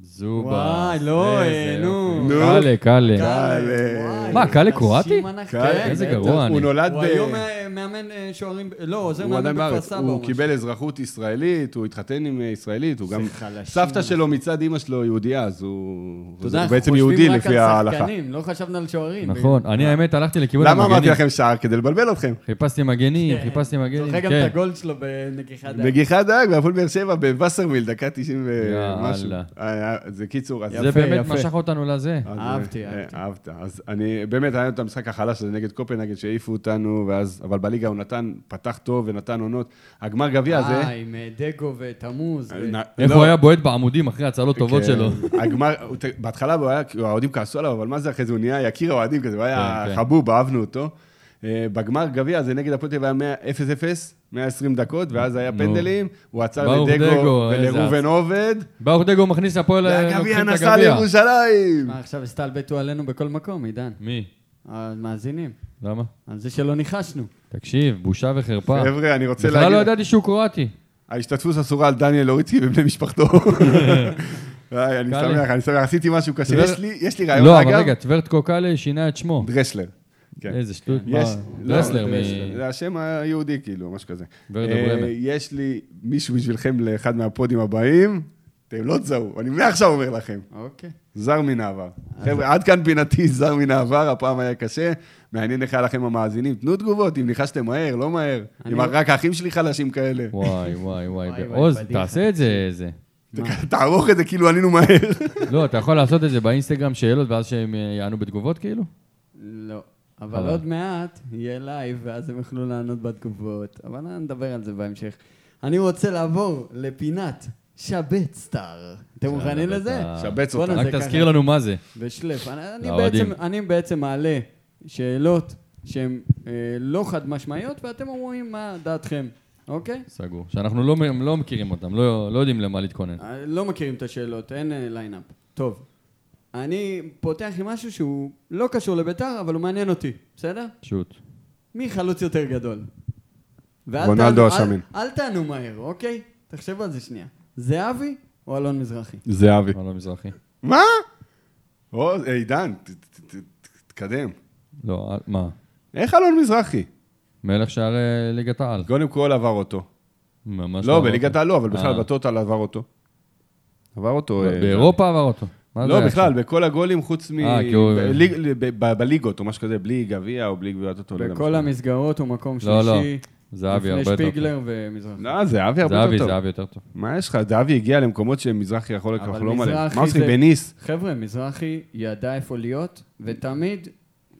S4: זובה.
S3: וואי, לא,
S4: איזה
S3: אה,
S4: יופי.
S2: נו.
S3: נו.
S4: קאלה,
S2: קאלה.
S4: קאלה.
S3: אה, וואי,
S4: מה, קאלה
S3: נשים
S4: קרואטי?
S3: ענק,
S2: קאלה,
S3: כן,
S4: איזה
S3: בטח.
S4: גרוע אני.
S2: הוא נולד
S3: הוא
S2: ב-
S3: היום אה, מאמן אה, שוערים, ב- לא, עוזר
S2: הוא
S3: מאמן
S2: עדיין
S3: בכפר
S2: בארץ,
S3: סבא.
S2: הוא
S3: ממש.
S2: קיבל אזרחות ישראלית, הוא התחתן עם אה, ישראלית, הוא גם...
S3: חלשים.
S2: סבתה שלו מצד אימא שלו יהודייה, אז הוא...
S3: אתה יודע,
S2: הוא
S3: אנחנו
S2: בעצם
S3: חושבים
S2: יהודי
S3: רק
S2: לפי
S3: על
S2: ההלכה.
S3: שחקנים, לא חשבנו על שוערים.
S4: נכון, אני האמת הלכתי לכיוון
S2: למה אמרתי
S4: המגנים.
S2: לכם שער? כדי לבלבל אתכם.
S4: חיפשתי מגנים, חיפסתי מגנים,
S3: כן. זוכר גם
S4: כן.
S3: את הגול שלו בנגיחת דעת.
S2: נגיחת דג והפועל באר שבע בווסרמיל, דקה 90 ומשהו.
S4: יאללה.
S2: היה- אה, זה קיצור, אז...
S4: זה באמת
S3: יפה.
S4: משך אותנו לזה.
S2: אז,
S3: אהבתי,
S2: אה,
S3: אהבתי.
S2: אהבת. אז אני, באמת, היה לנו את המשחק החלש הזה נגד קופנהגן, שהעיפו אותנו, ואז, אבל בליגה הוא נתן, פתח טוב ונתן עונות. הגמר גביע הזה...
S3: אה, עם אה, דגו ותמוז. ו-
S2: נ-
S4: איך
S2: לא,
S4: הוא היה בועט בעמודים אחרי הצלות טובות
S2: כן.
S4: שלו.
S2: הגמר, הוא ת- בהתחלה הוא היה, כאילו, האוהדים כעסו עליו, אבל מה זה אחרי זה, הוא נהיה יקיר האוהדים כזה, הוא היה
S4: כן, כן.
S2: חבוב, אהבנו אותו. אה, בגמר גביע הזה נגד הפועל תל אביב היה 0-0, 120 דקות, ואז היה
S4: נו.
S2: פנדלים, הוא עצר
S4: ברוך
S2: לדגו
S4: דגו, איזה
S2: ולראובן עובד,
S4: ברוך דגו מכניס הפועל, אה,
S2: והגביע
S4: לוקחים את
S2: נסע
S4: הגביע.
S2: לירושלים!
S3: מה, עכשיו הסתלבטו עלינו בכל מקום, עידן.
S4: מי?
S3: המאזינים,
S4: למה?
S3: על זה שלא ניחשנו.
S4: תקשיב, בושה וחרפה.
S2: חבר'ה, אני רוצה
S4: בכלל לא
S2: להגיד,
S4: ידעתי שהוא קרואטי.
S2: ההשתתפות אסורה על דניאל אוריצקי ובני משפחתו.
S4: [laughs]
S2: [laughs] היי, אני
S4: קאלי.
S2: שמח, אני שמח, עשיתי משהו קשה.
S4: זה-
S2: יש לי- יש לי רעיון,
S4: לא,
S2: אגב.
S4: אבל רגע, טברטקו קאלה שינה
S2: [laughs]
S4: את שמו.
S2: דרסלר. כן.
S4: איזה שטות. מה,
S2: יש, לא,
S4: דרסלר מ...
S2: זה השם היהודי, כאילו, משהו כזה.
S4: ורד
S2: אה,
S4: אברמר.
S2: יש לי מישהו בשבילכם לאחד מהפודים הבאים, אתם לא תזהו, אני מעכשיו אומר לכם,
S3: אוקיי.
S2: זר מן העבר.
S4: אה.
S2: חבר'ה, עד כאן פינתי זר מן העבר, הפעם היה קשה. מעניין איך היה לכם המאזינים, תנו תגובות, אם ניחשתם מהר, לא מהר. אם רק האחים שלי חלשים כאלה.
S4: וואי, וואי, וואי.
S3: וואי,
S4: עוז,
S3: פדיחה.
S4: תעשה את זה, זה.
S2: תערוך את זה כאילו עלינו מהר.
S4: לא, אתה יכול לעשות את זה באינסטגרם שאלות, ואז שהם אה, יענו בתגובות, כאילו?
S3: לא. אבל
S4: אבל-
S3: עוד מעט יהיה לייב, ואז הם יוכלו לענות בתגובות. אבל נדבר על זה בהמשך. אני רוצה לעבור לפינת שבת סטאר. אתם מוכנים
S4: אתה-
S3: לזה?
S2: שבץ
S3: בואנה,
S2: אותה.
S4: רק
S3: זה ככה.
S4: תזכיר לנו מה זה.
S3: ושלף. אני, אני,
S4: לאוהדים.
S3: בעצם, אני בעצם מעלה שאלות שהן אה, לא חד משמעיות, ואתם אומרים מה דעתכם, אוקיי?
S4: סגור. שאנחנו לא מ- לא מכירים אותם, לא לא יודעים למה להתכונן.
S3: אה, לא מכירים את השאלות, אין אה, ליינאפ. טוב. אני פותח עם משהו שהוא לא קשור לביתר, אבל הוא מעניין אותי, בסדר?
S4: פשוט.
S3: מי חלוץ יותר גדול? ואל
S2: רונלדו
S3: תענו- אל-
S2: השמן.
S3: אל תענו מהר, אוקיי? תחשבו על זה שנייה. זהבי או אלון מזרחי?
S2: זהבי.
S4: לא, לא מזרחי.
S2: מה? או, אה, עידן, ת- ת- ת- ת- תתקדם.
S4: לא, אל- מה?
S2: איך אלון מזרחי?
S4: מלך שער אה, ליגת העל.
S2: קודם כל עבר אותו.
S4: ממש
S2: לא,
S4: עבר
S2: בליגת
S4: אותו.
S2: העל לא, אבל בכלל
S4: אה. לא,
S2: בטוטל עבר אותו. עבר אותו. אה,
S4: באירופה עבר אותו. מה זה
S2: לא,
S4: היה
S2: בכלל,
S4: שם?
S2: בכל הגולים חוץ מ...
S4: אה, כי הוא-
S2: בליג- ב- ב- בליגות או משהו כזה, בלי גביע או בלי גביעת אותו.
S3: בכל המסגרות הוא מקום שלישי.
S4: לא, לא. זהבי הרבה
S3: לפני
S4: יותר טוב.
S3: שפיגלר ומזרחי.
S2: לא, זהבי הרבה
S4: זהבי,
S2: יותר טוב.
S4: זהבי יותר טוב.
S2: מה יש לך? זהבי הגיע למקומות שמזרחי יכול
S3: אבל
S2: לחלום עליהם.
S3: מזרחי
S2: מה עושים?
S3: זה-
S2: לא בניס.
S3: חבר'ה, מזרחי ידע איפה להיות, ותמיד...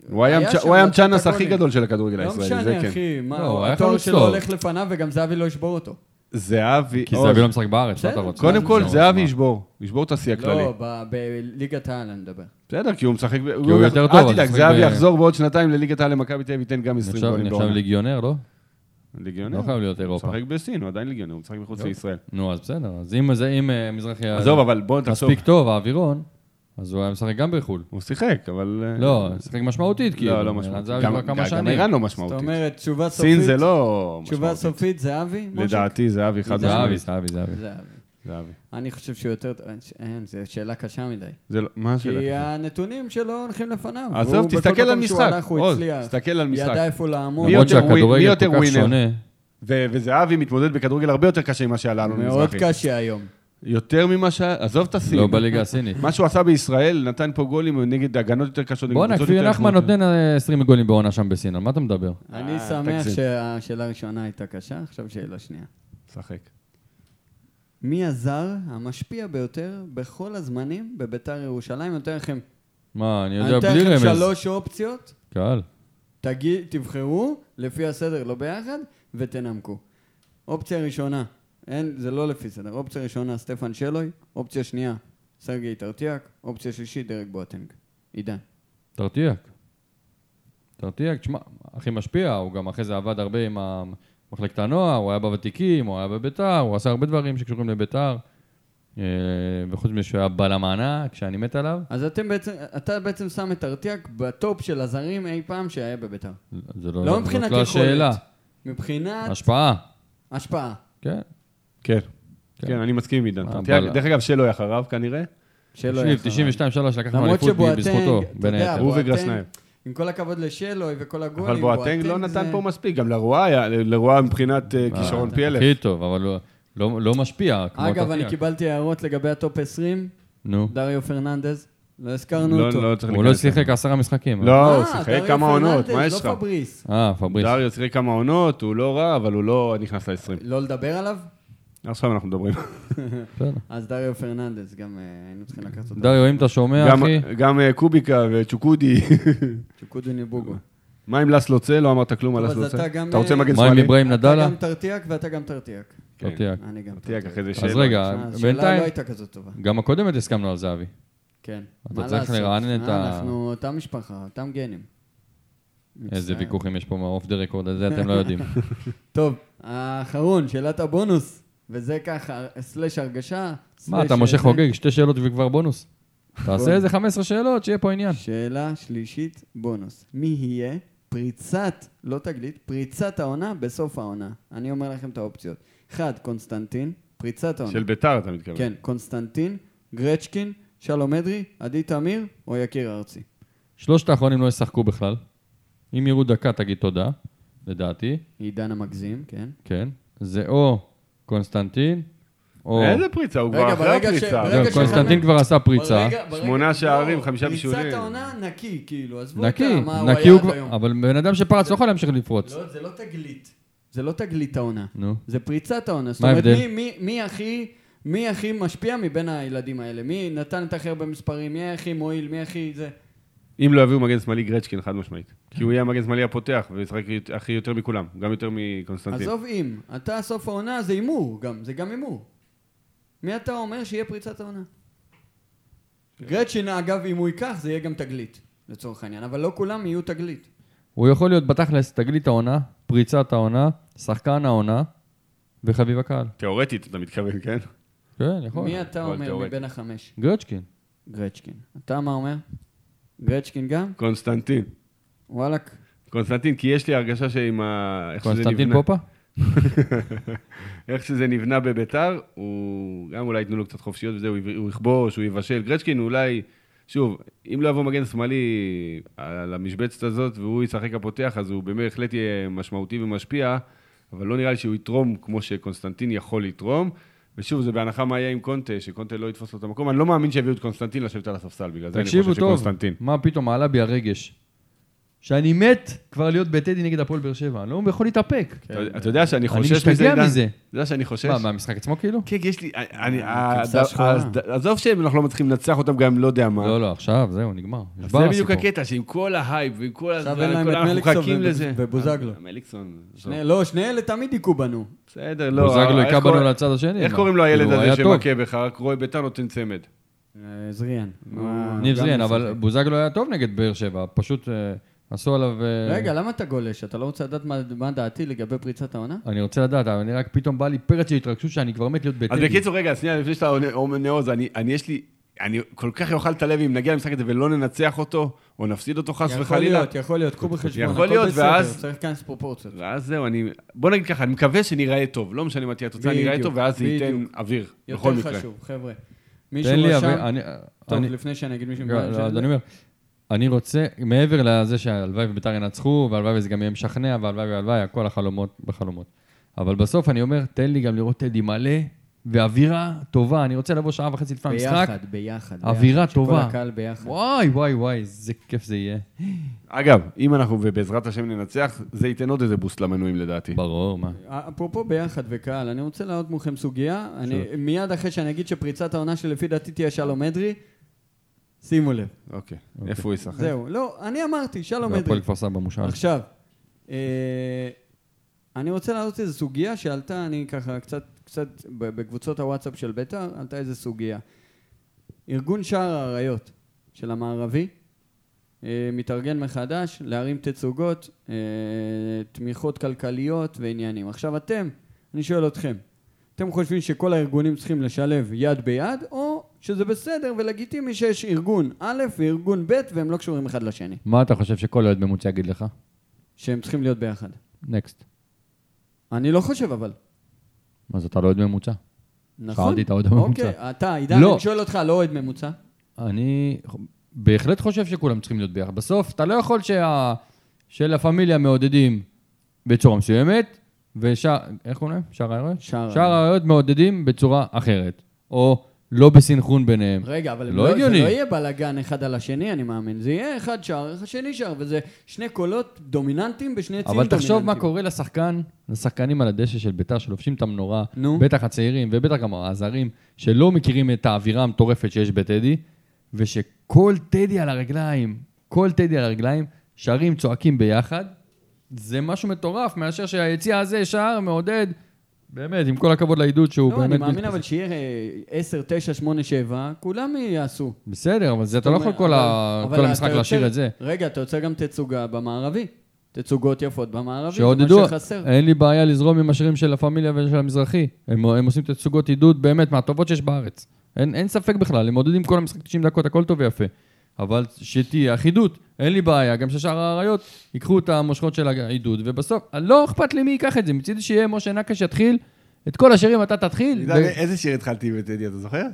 S2: הוא היה
S3: היה
S2: המצ'-
S3: שם
S2: הוא היה
S3: לתת את
S2: המצ'אנס הכי
S3: הגולים.
S2: גדול של הכדורגל
S3: לא
S2: הישראלי, זה
S3: משנה,
S2: כן.
S3: אחי, מה,
S4: לא, הוא היה
S3: התואר
S4: חלוץ
S3: שלו
S4: טוב.
S3: הולך לפניו וגם זהבי לא ישבור אותו.
S2: זהבי...
S4: כי
S2: אוי,
S4: זהבי לא משחק בארץ, מה אתה
S3: בסדר.
S4: רוצה?
S2: קודם כל,
S4: לא,
S2: זהבי
S4: מה?
S2: ישבור. ישבור את השיא הכללי.
S3: לא, ב- בליגת העל אני מדבר.
S2: בסדר, כי הוא משחק... ב-
S4: הוא יותר טוב,
S2: אל
S4: אז
S2: תדאג,
S4: משחק
S2: זהבי
S4: ב-
S2: יחזור בעוד שנתיים לליגת העל למכבי תל אביב, ייתן גם 20
S4: נחשב
S2: גולים
S4: נחשב
S2: בעונה.
S4: ליגיונר, לא?
S2: ליגיונר.
S4: לא חייב להיות אירופה. לא.
S2: הוא משחק בסין, הוא עדיין ליגיונר, הוא משחק מחוץ לישראל.
S4: נו, אז בסדר. אז אם זה, אם אה, מזרחי היה
S2: עזוב, אבל בוא תחשוב.
S4: מספיק טוב, האווירון, אז הוא היה משחק גם בחו"ל.
S2: הוא שיחק, אבל... אה,
S4: לא, משחק משמעותית, כאילו.
S2: לא, לא משמעותי.
S4: זהבי
S2: גם-
S4: כבר כמה
S2: גם- גם
S4: שנים.
S2: איראן לא
S3: זאת
S2: משמעותית.
S3: אומרת, תשובה סופית...
S2: סין זה לא
S3: תשובה
S2: משמעותי.
S3: סופית, זהבי? משה?
S2: לדעתי זהבי חד
S4: זהבי,
S2: משמעית.
S4: זהבי, זהבי.
S3: זהבי.
S2: זהבי.
S3: אני חושב שהוא יותר... אין, זו שאלה קשה מדי.
S2: זה לא... מה השאלה?
S3: כי הנתונים שלו הולכים לפניו.
S2: עזוב,
S3: והוא בכל
S2: תסתכל
S3: מקום
S2: על
S3: שהוא
S2: משחק.
S3: הלך, הוא
S2: עוז,
S3: הצליח.
S2: תסתכל על משחק.
S3: ידע איפה לעמוד.
S2: מי
S4: למרות
S2: יותר ווינ- מי
S4: שהכדורגל
S2: יותר
S4: כל כך
S2: ווינר?
S4: שונה.
S2: ו- וזהבי מתמודד בכדורגל הרבה יותר קשה ממה שהיה לאלון
S3: מאוד
S2: לא מזרחי. אה,
S3: קשה היום.
S2: יותר ממה ש... עזוב את הסין.
S4: לא בליגה
S2: [laughs]
S4: הסינית.
S2: מה שהוא עשה בישראל, נתן פה גולים נגד הגנות יותר קשות. נגד
S4: בואנה,
S2: קבוצות
S4: כפיר
S2: יותר
S4: נחמן
S2: חמורות.
S4: נותן אה, 20 גולים בעונה שם בסין, על מה אתה מדבר?
S3: אני שמח שהשאלה הראשונה הייתה קשה, עכשיו שאלה שנייה.
S2: שחק.
S3: מי הזר המשפיע ביותר בכל הזמנים בביתר ירושלים? אני נותן לכם
S4: מה, אני
S3: אני
S4: יודע,
S3: אתן
S4: בלי
S3: לכם
S4: רמז.
S3: שלוש אופציות,
S4: קהל.
S3: תגיד, תבחרו, לפי הסדר, לא ביחד, ותנמקו. אופציה ראשונה, אין, זה לא לפי סדר, אופציה ראשונה, סטפן שלוי, אופציה שנייה, סרגי טרטיאק, אופציה שלישית, דרק בוטנג. עידן.
S4: תרתיאק. תרתיאק, תשמע, הכי משפיע, הוא גם אחרי זה עבד הרבה עם ה- מחלקת הנוער, הוא היה בוותיקים, הוא היה בביתר, הוא עשה הרבה דברים שקשורים לביתר. אה, וחוץ מזה שהוא היה בלם ענק, שאני מת עליו.
S3: אז אתם בעצם, אתה בעצם שם את טרטיאק בטופ של הזרים אי פעם שהיה בביתר.
S4: זה לא,
S3: לא
S4: זאת
S3: מבחינת
S4: לא
S3: יכולת.
S4: השאלה.
S3: מבחינת
S4: השפעה,
S3: השפעה.
S4: כן.
S2: כן.
S4: כן.
S2: כן, אני מסכים עם עידן.
S4: אה,
S2: תראה,
S4: בלה.
S2: דרך אגב, שלו אחריו כנראה.
S3: שלו היה
S4: תקשיב,
S3: אחריו.
S4: 92 3 לקחנו
S3: למרות
S4: אליפות
S3: שבואטנג,
S4: בזכותו,
S3: אתה
S4: בין
S3: יודע,
S4: היתר.
S2: הוא
S3: בואטנג,
S2: וגרשניים.
S3: עם כל הכבוד לשלוי וכל הגולים,
S2: אבל בואטנג לא נתן
S3: זה-
S2: פה מספיק, גם לרואה היה, לרואה מבחינת אה, כישרון פי אלף.
S4: הכי טוב, אבל הוא לא- לא משפיע כמו
S3: אגב, אני
S4: תפקיע.
S3: קיבלתי הערות לגבי הטופ 20,
S4: נו.
S3: דריו פרננדז, לא הזכרנו
S2: לא,
S3: אותו.
S2: לא צריך
S4: הוא לא
S2: להיכנס לזה.
S4: שיחק עשרה משחקים. אה?
S2: לא, הוא
S3: אה,
S2: שיחק
S3: דריו
S2: כמה עונות, מה
S3: פרננדז,
S2: יש לך?
S3: לא פבריס.
S4: אה, פבריס.
S2: דריו שיחק כמה עונות, הוא לא רע, אבל הוא לא נכנס ל-20.
S3: לא לדבר עליו?
S2: עכשיו אנחנו מדברים.
S4: בסדר.
S3: אז דריו פרננדז, גם אה, היינו צריכים לקחת אותו.
S4: דריו, אם אתה שומע,
S2: גם-
S4: אחי,
S2: גם אה, קוביקה וצ'וקודי. [laughs]
S3: צ'וקודו ניבוגו.
S2: מה עם לס לוצה? לא אמרת כלום על
S3: טוב,
S2: לס
S3: אז אתה
S2: לוצה.
S3: גם,
S2: אתה רוצה
S3: אה,
S2: מגן
S4: מה עם
S2: שמאלי?
S4: אברהים
S3: אתה
S4: נדאלה?
S3: גם תרתיאק ואתה גם תרתיאק.
S2: כן.
S4: תרתיע.
S3: אני גם
S2: תרתיאק אחרי זה
S4: לא אז
S2: שאלה.
S4: רגע,
S3: תשמע, השאלה
S4: בינתיים,
S3: לא הייתה כזאת טובה.
S4: גם הקודמת הסכמנו על זהבי.
S3: כן.
S4: אתה
S3: מה
S4: צריך
S3: לעשות?
S4: לרענן את
S3: אה,
S4: ה-
S3: אנחנו אותה משפחה, אותם גנים.
S4: איזה
S3: מצטער.
S4: ויכוחים יש פה מהאוף דה רקורד, את זה אתם לא
S3: [laughs]
S4: יודעים.
S3: טוב, האחרון, שאלת הבונוס, וזה ככה, סלאש הרגשה.
S4: מה,
S3: סלאש
S4: אתה משה
S3: זה.
S4: חוגג, שתי שאלות וכבר בונוס. תעשה איזה 15 שאלות, שיהיה פה עניין.
S3: שאלה שלישית, בונוס. מי יהיה פריצת, לא תגלית, פריצת העונה בסוף העונה? אני אומר לכם את האופציות. אחד, קונסטנטין, פריצת העונה.
S2: של ביתר אתה מתכוון.
S3: כן, קונסטנטין, גרצ'קין, שלום אדרי, עדי תמיר או יקיר ארצי.
S4: שלושת האחרונים לא ישחקו בכלל. אם יראו דקה, תגיד תודה, לדעתי,
S3: עידן המגזים, כן.
S4: כן. זה או קונסטנטין, או...
S2: איזה פריצה? הוא כבר
S3: רגע,
S2: אחרי
S3: ברגע ש-
S2: הפריצה.
S3: ברגע
S4: זהו,
S3: ש-
S4: קונסטנטין כבר עשה פריצה.
S3: ברגע- ברגע-
S2: שמונה
S3: לא,
S2: שערים, חמישה בישולים.
S3: פריצת העונה נקי, כאילו, עזבו
S4: נקי,
S3: אותה, מה הוא
S4: נקי הוא
S3: היה עד היום.
S4: כבר... אבל בן אדם שפרץ לא יכול להמשיך לפרוץ.
S3: לא, זה לא תגלית. זה לא תגלית העונה.
S4: נו.
S3: זה פריצת העונה. זאת
S4: מה
S3: אומרת,
S4: ההבדל?
S3: מי, מי, מי הכי... מי הכי משפיע מבין הילדים האלה? מי נתן את הכי הרבה מספרים? מי הכי מועיל? מי הכי זה?
S2: אם לא יביאו מגן שמאלי, גרצ'קין חד משמעית. כי הוא יהיה המגן שמאלי הפותח, וישחק הכי יותר מכולם, גם יותר מקונסטנטין.
S3: עזוב אם. אתה סוף העונה זה הימור גם, זה גם הימור. מי אתה אומר שיהיה פריצת העונה? כן. גרצ'ין, אגב, אם הוא ייקח, זה יהיה גם תגלית, לצורך העניין. אבל לא כולם יהיו תגלית.
S4: הוא יכול להיות בתכלס תגלית העונה, פריצת העונה, שחקן העונה וחביב הקהל.
S2: תיאורטית אתה מתכוון, כן?
S4: כן, יכול.
S3: מי אתה
S2: אבל
S3: אומר
S2: תיאורטי.
S3: מבין החמש?
S4: גרצ'קין.
S3: גרצ'קין. אתה מה אומר? גרצ'קין גם?
S2: קונסטנטין.
S3: וואלכ.
S2: קונסטנטין, כי יש לי הרגשה שעם ה... איך שזה
S4: קונסטנטין
S2: נבנה-
S4: פופה?
S2: [laughs] איך שזה נבנה בביתר, הוא גם אולי ייתנו לו קצת חופשיות וזה, הוא יב- הוא יכבוש, הוא יבשל. גרצ'קין אולי, שוב, אם לא יבוא מגן שמאלי על המשבצת הזאת והוא ישחק הפותח, אז הוא בהחלט יהיה משמעותי ומשפיע, אבל לא נראה לי שהוא יתרום כמו שקונסטנטין יכול לתרום. ושוב, זה בהנחה מה יהיה עם קונטה, שקונטה לא יתפוס לו את המקום. אני לא מאמין שיביאו את קונסטנטין לשבת על הספסל, בגלל זה אני חושב
S4: תקשיבו טוב, כן.
S2: שקונסטנטין.
S4: מה פתאום עלה בי הרגש. שאני מת כבר להיות בטדי נגד הפועל באר שבע, אני לא יכול להתאפק.
S2: אתה- אתה יודע שאני חושש מזה,
S4: משתגע
S2: עידן?
S4: מזה.
S2: אתה יודע שאני חושש?
S4: מה, מהמשחק עצמו כאילו?
S2: כן, כי יש לי... אני... אה,
S3: הכבשה השחורה.
S2: אז- עזוב שאנחנו לא מצליחים לנצח אותם גם לא יודע מה.
S4: לא, לא, עכשיו, זהו, נגמר.
S2: אז
S4: נשבר
S2: זה בדיוק
S4: הסיפור.
S2: הקטע, שעם כל ההייפ ועם כל הזמן,
S3: עכשיו אין להם
S2: כל-
S3: את
S2: אנחנו
S3: מליקסון
S2: מחכים
S3: וב-
S2: לזה. אה,
S3: ובוזגלו.
S2: מליקסון, עזוב.
S3: שני- לא, שני אלה תמיד היכו בנו.
S2: בסדר, לא.
S4: בוזגלו
S2: איך
S4: היכה
S2: קורא-
S4: בנו לצד השני.
S2: איך
S4: מה?
S2: קוראים לו הילד
S4: כאילו, הוא
S2: הזה
S4: היה טוב.
S2: שמכה בך? רק רואה ביתר נותן צמד.
S3: אה, זריאן. גם
S4: ניב זריאן,
S3: משחק.
S4: אבל בוזגלו היה טוב נגד באר שבע, פשוט אה, עשו עליו... אה,
S3: רגע, למה אתה גולש? אתה לא רוצה לדעת מה- מה דעתי לגבי פריצת העונה?
S4: אני רוצה לדעת, אבל אני רק פתאום בא לי פרץ של התרגשות שאני כבר מת להיות
S2: אז
S4: בטדי.
S2: בקיצור, רגע, שנייה, לפני שאתה עונה- עונה נעוז, אני אני יש לי... אני כל כך אוכל את הלב אם נגיע למשחק הזה ולא ננצח אותו, או נפסיד אותו חס
S3: יכול
S2: וחלילה.
S3: להיות, יכול להיות, קחו בחשבון.
S2: יכול
S3: הכל
S2: להיות,
S3: בסדר,
S2: ואז- לא,
S3: צריך להיכנס פרופורציות.
S2: ואז זהו, אני... בוא נגיד ככה, אני מקווה שניראה טוב. לא משנה מה תהיה התוצאה, ניראה
S3: בדיוק,
S2: טוב, ואז זה ייתן
S3: בדיוק.
S2: אוויר, בכל
S3: יותר
S2: מקרה.
S3: חשוב, חבר'ה.
S4: תן
S3: מישהו
S4: לי, אבל
S3: רשם...
S4: אני... אה,
S3: טוב,
S4: אני-
S3: לפני שאני אגיד מישהו...
S4: לא,
S3: מבעל
S4: אז
S3: של-
S4: אני אומר, אני רוצה, מעבר לזה שהלוואי וביתר ינצחו, והלוואי וזה גם יהיה משכנע, והלוואי והלוואי, הכל החלומות בחלומות. אבל בסוף אני אומר, תן לי גם לראות טדי מלא, ואווירה טובה, אני רוצה לבוא שעה וחצי לפני המשחק.
S3: ביחד, ביחד.
S4: אווירה
S3: ביחד,
S4: טובה.
S3: שכל הקהל ביחד.
S4: וואי, וואי, וואי, איזה כיף זה יהיה.
S2: אגב, אם אנחנו, ובעזרת השם ננצח, זה ייתן עוד איזה בוסט למנויים לדעתי.
S4: ברור, מה.
S3: לא אפרופו ביחד וקהל, אני רוצה להעלות מולכם סוגיה. אני, מיד אחרי שאני אגיד שפריצת העונה שלפי דעתי תהיה שלום אדרי, שימו לב.
S2: אוקיי. איפה הוא ישחק?
S3: זהו. לא, אני אמרתי, שלום אדרי.
S4: והפועל כפר סבא מושל.
S3: עכשיו, אה, אני רוצה להעלות איזו סוגיה שעלתה, אני ככה קצת, קצת ב- בקבוצות הוואטסאפ של בית"ר, עלתה איזו סוגיה. ארגון שער האריות של המערבי אה, מתארגן מחדש להרים תצוגות, אה, תמיכות כלכליות ועניינים. עכשיו אתם, אני שואל אתכם, אתם חושבים שכל הארגונים צריכים לשלב יד ביד, או שזה בסדר ולגיטימי שיש ארגון א' וארגון ב' והם לא קשורים אחד לשני,
S4: מה אתה חושב שכל אוהד ממוצע יגיד לך?
S3: שהם צריכים להיות ביחד?
S4: נקסט.
S3: אני לא חושב אבל.
S4: אז אתה לא אוהד ממוצע.
S3: נכון.
S4: שאלתי את האוהד
S3: אוקיי,
S4: הממוצע.
S3: אתה, עידן,
S4: לא.
S3: אני שואל אותך, לא אוהד ממוצע.
S4: אני בהחלט חושב שכולם צריכים להיות ביחד. בסוף, אתה לא יכול שה... שלה פמיליה מעודדים בצורה מסוימת, ושאר... איך קוראים להם? שאר האריות?
S3: שאר
S4: שאר
S3: האריות.
S4: האריות מעודדים בצורה אחרת, או לא בסנכרון ביניהם.
S3: רגע, אבל
S4: לא
S3: לא זה לא
S4: הגיוני.
S3: יהיה בלאגן אחד על השני, אני מאמין. זה יהיה אחד שער, איך השני שער, וזה שני קולות דומיננטיים בשני עצים
S4: אבל
S3: דומיננטיים.
S4: תחשוב מה קורה לשחקן, לשחקנים על הדשא של ביתר שלובשים את המנורה,
S3: נו.
S4: בטח הצעירים ובטח גם הזרים, שלא מכירים את האווירה המטורפת שיש בטדי, ושכל טדי על הרגליים, כל טדי על הרגליים, שרים, צועקים ביחד, זה משהו מטורף, מאשר שהיציע הזה שר, מעודד, באמת, עם כל הכבוד לעידוד שהוא
S3: לא,
S4: באמת...
S3: אני מאמין
S4: מתכסה.
S3: אבל שיהיה אה, 10, 9, 8, 7, כולם יעשו.
S4: בסדר, אבל זה אתה לא יכול
S3: אומר,
S4: כל ה-
S3: אבל-
S4: כל
S3: אבל
S4: המשחק
S3: אתה
S4: להשאיר
S3: יוצר-
S4: את זה.
S3: רגע, אתה יוצר גם תצוגה במערבי. תצוגות יפות במערבי, זה
S4: שעודדו,
S3: מה שחסר.
S4: אין לי בעיה לזרום עם השירים של לה פמיליה ושל המזרחי. הם, הם עושים תצוגות עידוד באמת מהטובות שיש בארץ. אין, אין ספק בכלל, הם מעודדים כל המשחק 90 דקות, הכל טוב ויפה. אבל שתהיה אחידות, אין לי בעיה, גם ששאר האריות ייקחו את המושכות של העידוד, ובסוף, לא אכפת לי מי ייקח את זה, מצידי שיהיה משה נקש יתחיל, את כל השירים אתה תתחיל.
S2: יודע,
S4: ו-
S2: איזה שיר התחלתי בטדי, אתה זוכר?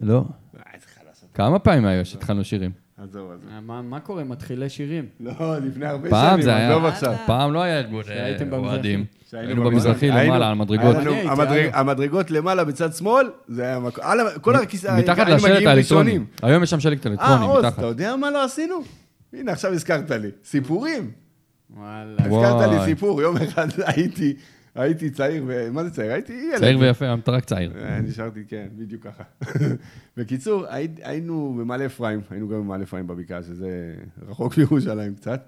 S4: לא.
S2: אה, איזה חלאס. אתה.
S4: כמה פעמים היה שהתחלנו שירים?
S2: עזוב, עזוב.
S3: אה, מה מה קורה? מתחילי שירים.
S2: לא, לפני הרבה
S4: פעם
S2: שנים,
S4: זה היה,
S2: עזוב עכשיו.
S4: פעם לא היה ארגון
S3: שהייתם
S4: אה,
S3: במזרחי.
S4: אוהדים.
S2: שהיינו
S4: היינו במזרחי
S2: היינו-
S4: למעלה, על מדרגות.
S2: היה לנו-
S3: אני הייתי,
S2: המדרג-
S3: היה
S2: המדרגות למעלה בצד שמאל, זה היה מקום, על ה- כל הכיסא,
S4: מתחת
S2: היינו
S4: לשלט
S2: מגיעים
S4: האלקטרוני.
S2: ראשונים.
S4: היום יש שם שלט
S2: אה,
S4: אלקטרוני,
S2: עוז,
S4: מתחת.
S2: אתה יודע מה לא עשינו? הנה, עכשיו הזכרת לי. סיפורים.
S3: וואלה.
S2: הזכרת לי
S4: וואי.
S2: סיפור, יום אחד [laughs] הייתי, הייתי צעיר, ו- מה זה צעיר? הייתי ילד.
S4: צעיר ויפה, אתה רק
S2: [laughs]
S4: צעיר.
S2: אה, נשארתי, כן, בדיוק ככה. [laughs] בקיצור, הי- היינו במעלה אפרים, היינו גם במעלה אפרים בבקעה, שזה רחוק [laughs] מירושלים קצת,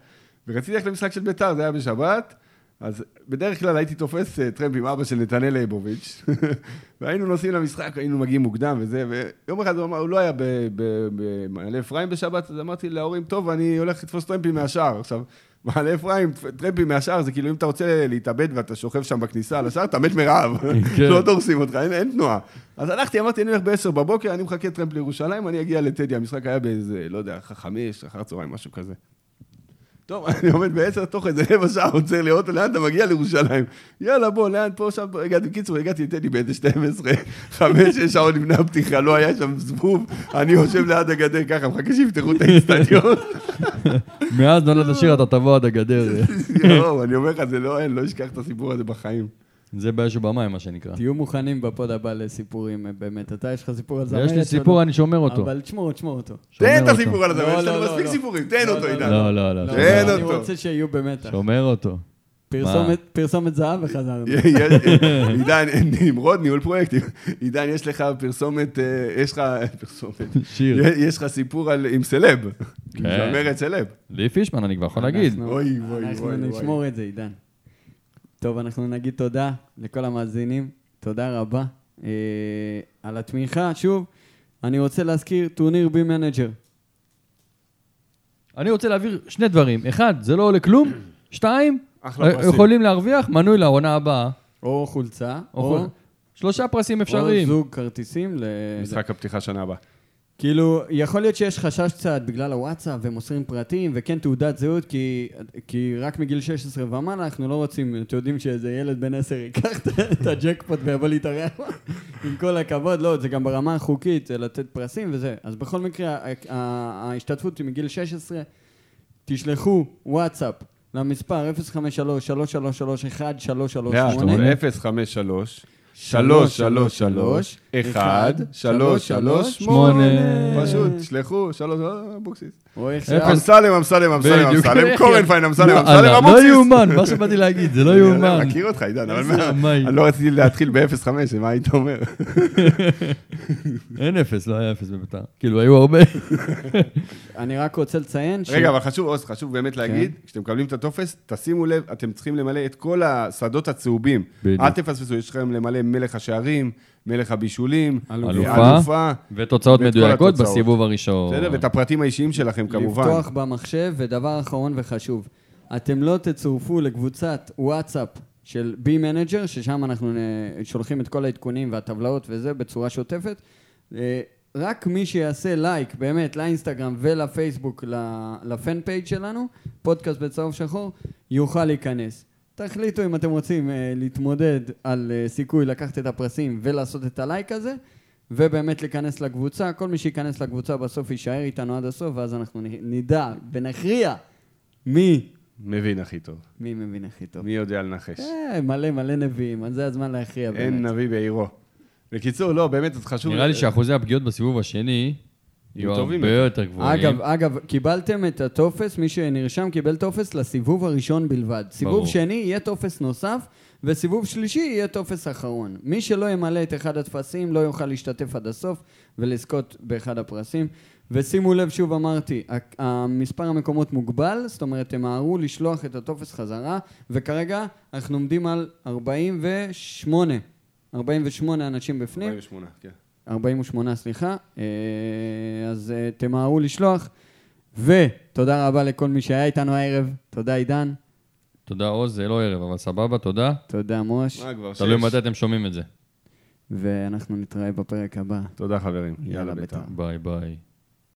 S2: ורציתי ללכת למשחק של ביתר, זה היה בשבת, אז בדרך כלל הייתי תופס אה, טרמפ עם אבא של נתנאל ליבוביץ', [laughs] והיינו נוסעים למשחק, היינו מגיעים מוקדם וזה, ויום אחד הוא אמר, הוא לא היה ב- ב- במעלה אפרים בשבת, אז אמרתי להורים, טוב, אני הולך לתפוס טרמפים מהשער. עכשיו, [laughs] מעלה אפרים, טרמפים מהשער, זה כאילו אם אתה רוצה להתאבד ואתה שוכב שם בכניסה על השער, אתה מת מרעב.
S4: כן.
S2: לא דורסים אותך, אין, אין תנועה. אז הלכתי, אמרתי, אני הולך ב-10 בבוקר, אני מחכה טרמפ לירושלים, אני אגיע לטדי, המשחק היה באיזה, לא יודע, חמש, אחר צהריים, משהו כזה. טוב, [laughs] אני עומד בעשר, תוך איזה רבע שעה עוצר לי אוטו, לאן אתה מגיע לירושלים? יאללה, בוא, לאן פה, שם, פה, הגעתי, בקיצור, הגעתי לטדי באיזה [laughs] 12, 5, 6 שעות לפני הפתיחה, לא היה שם זבוב, אני יושב ליד הגדר ככה, מחכה שיפתחו את האיצטדיון. [laughs]
S4: מאז
S2: אה.
S4: נולד השיר, אתה תבוא עד הגדר.
S2: יואו, אני אומר לך, זה לא, אין, לא אשכח את הסיפור הזה בחיים.
S4: זה באש ובמים, מה שנקרא.
S3: תהיו מוכנים בפוד הבא לסיפורים, אה, באמת. אתה, יש לך סיפור על זמרת?
S4: יש
S3: שלא-
S4: לי סיפור, אני שומר אותו.
S3: אבל תשמור, תשמור אותו.
S4: שומר
S2: תן את
S4: אותו.
S2: הסיפור על הזה,
S3: לא,
S2: יש
S3: לא,
S2: לנו
S3: לא,
S2: מספיק
S3: לא.
S2: סיפורים, תן
S3: לא,
S2: אותו,
S3: לא,
S2: עידן.
S4: לא, לא, לא.
S3: לא,
S2: תן
S3: אני
S2: אותו.
S3: רוצה שיהיו במתח.
S4: שומר אותו.
S3: פרסומת- פרסומת זהב
S2: [laughs]
S3: וחזרנו.
S4: [laughs]
S2: עידן, נמרוד, ניהול פרויקטים. עידן, יש לך פרסומת, אה, יש לך פרסומת.
S4: שיר.
S2: יש- יש לך סיפור על- עם סלב. עם
S4: כן.
S2: זמרת סלב.
S4: לי פישמן, אני כבר יכול להגיד.
S3: אנחנו-
S2: אוי, אוי,
S3: אנחנו
S2: אוי, אוי.
S3: נשמור את זה, עידן. טוב, אנחנו נגיד תודה לכל המאזינים. תודה רבה אה, על התמיכה. שוב, אני רוצה להזכיר טורניר בי מנג'ר.
S4: אני רוצה להעביר שני דברים. אחד, זה לא עולה כלום. שתיים,
S2: אחלה
S4: אה,
S2: לא פרסים.
S4: יכולים להרוויח מנוי לעונה הבאה.
S3: או חולצה,
S4: או
S3: או,
S4: כל- שלושה פרסים
S3: או
S4: אפשריים.
S3: זוג כרטיסים. ל...
S2: משחק הפתיחה שנה הבאה.
S3: כאילו, יכול להיות שיש חשש קצת בגלל הוואטסאפ ומוסרים פרטים וכן תעודת זהות, כי, כי רק מגיל 16 ומעלה אנחנו לא רוצים, אתם יודעים שאיזה ילד בן 10 ייקח את- [laughs] את הג'קפוט ויבוא להתארח, [laughs] עם כל הכבוד, לא, זה גם ברמה החוקית, זה לתת פרסים וזה. אז בכל מקרה, ה- ה- ההשתתפות היא מגיל 16, תשלחו וואטסאפ למספר
S4: לא,
S3: 053-333-1338.
S2: 053 333
S4: שמונה.
S2: 1338 פשוט, שלחו, שלוש, אה, אבוקסיס.
S3: או איך
S4: אפס.
S2: אמסלם, אמסלם, אמסלם,
S4: אה, בדיוק.
S2: אמסלם, קורנפיין, אמסלם,
S4: וואלה,
S2: אמסלם,
S4: [laughs] לא
S2: אבוקסיס.
S4: יאומן, מה שבאתי להגיד, זה לא יאומן.
S2: אני מכיר אותך, עידן, אבל
S4: איזה
S2: מה-
S4: רמאי.
S2: אני לא רציתי להתחיל ב-05, מה היית אומר?
S4: אין אפס, לא היה אפס בביתר. כאילו, היו הרבה.
S3: אני רק רוצה לציין ש...
S2: רגע, אבל חשוב, עוז, חשוב באמת
S4: כן.
S2: להגיד, כשאתם מקבלים את הטופס, תשימו לב, אתם צריכים למלא את כל השדות הצהובים.
S4: בדיוק.
S2: אל תפספסו, יש לכם למלא מלך השערים, מלך הבישולים, אה,
S4: אלופה.
S2: אלופה,
S4: ותוצאות
S2: ואת כל
S4: מדויקות
S2: התוצאות.
S4: בסיבוב הראשון.
S2: בסדר? ואת הפרטים האישיים שלכם, כמובן.
S3: לפתוח במחשב, ודבר אחרון וחשוב, אתם לא תצורפו לקבוצת וואטסאפ של בי מנג'ר, ששם אנחנו אה, שולחים את כל העדכונים והטבלאות וזה בצורה שוטפת. אה, רק מי שיעשה לייק, באמת, לאינסטגרם ולפייסבוק, ל- לפן פייג' שלנו, פודקאסט בצהוב שחור, יוכל להיכנס. תחליטו אם אתם רוצים אה, להתמודד על אה, סיכוי לקחת את הפרסים ולעשות את הלייק הזה, ובאמת להיכנס לקבוצה. כל מי שייכנס לקבוצה בסוף יישאר איתנו עד הסוף, ואז אנחנו נ- נדע ונכריע מי,
S6: מבין הכי טוב.
S3: מי מבין הכי טוב.
S6: מי יודע לנחש?
S4: כן,
S3: אה, מלא מלא נביאים, אז זה הזמן להכריע
S6: אין
S3: באמת.
S6: נביא בעירו. בקיצור, לא, באמת, אז חשוב...
S4: נראה לי
S2: אה,
S4: שאחוזי הפגיעות בסיבוב השני יהיו
S6: טובים
S4: הרבה יותר גבוהים.
S3: אגב, אגב, קיבלתם את הטופס, מי שנרשם קיבל טופס לסיבוב הראשון בלבד. סיבוב
S4: ברור.
S3: שני יהיה טופס נוסף, וסיבוב שלישי יהיה טופס אחרון. מי שלא ימלא את אחד הטפסים לא יוכל להשתתף עד הסוף ולזכות באחד הפרסים. ושימו לב, שוב אמרתי, ה- המספר המקומות מוגבל, זאת אומרת, תמהרו לשלוח את הטופס חזרה, וכרגע אנחנו עומדים על 48. 48 אנשים בפנים.
S6: 48, כן.
S3: 48, סליחה. אה, אז אה, תמהרו לשלוח. ותודה רבה לכל מי שהיה איתנו הערב. תודה, עידן.
S4: תודה עוז, זה לא ערב, אבל סבבה, תודה.
S3: תודה, מוש.
S6: מה
S2: לא,
S6: כבר?
S4: תלוי
S6: שש.
S4: מתי אתם שומעים את זה.
S3: ואנחנו נתראה בפרק הבא.
S6: תודה, חברים.
S3: יאללה,
S6: יאללה, בית"ר.
S3: בית"ר.
S4: ביי ביי.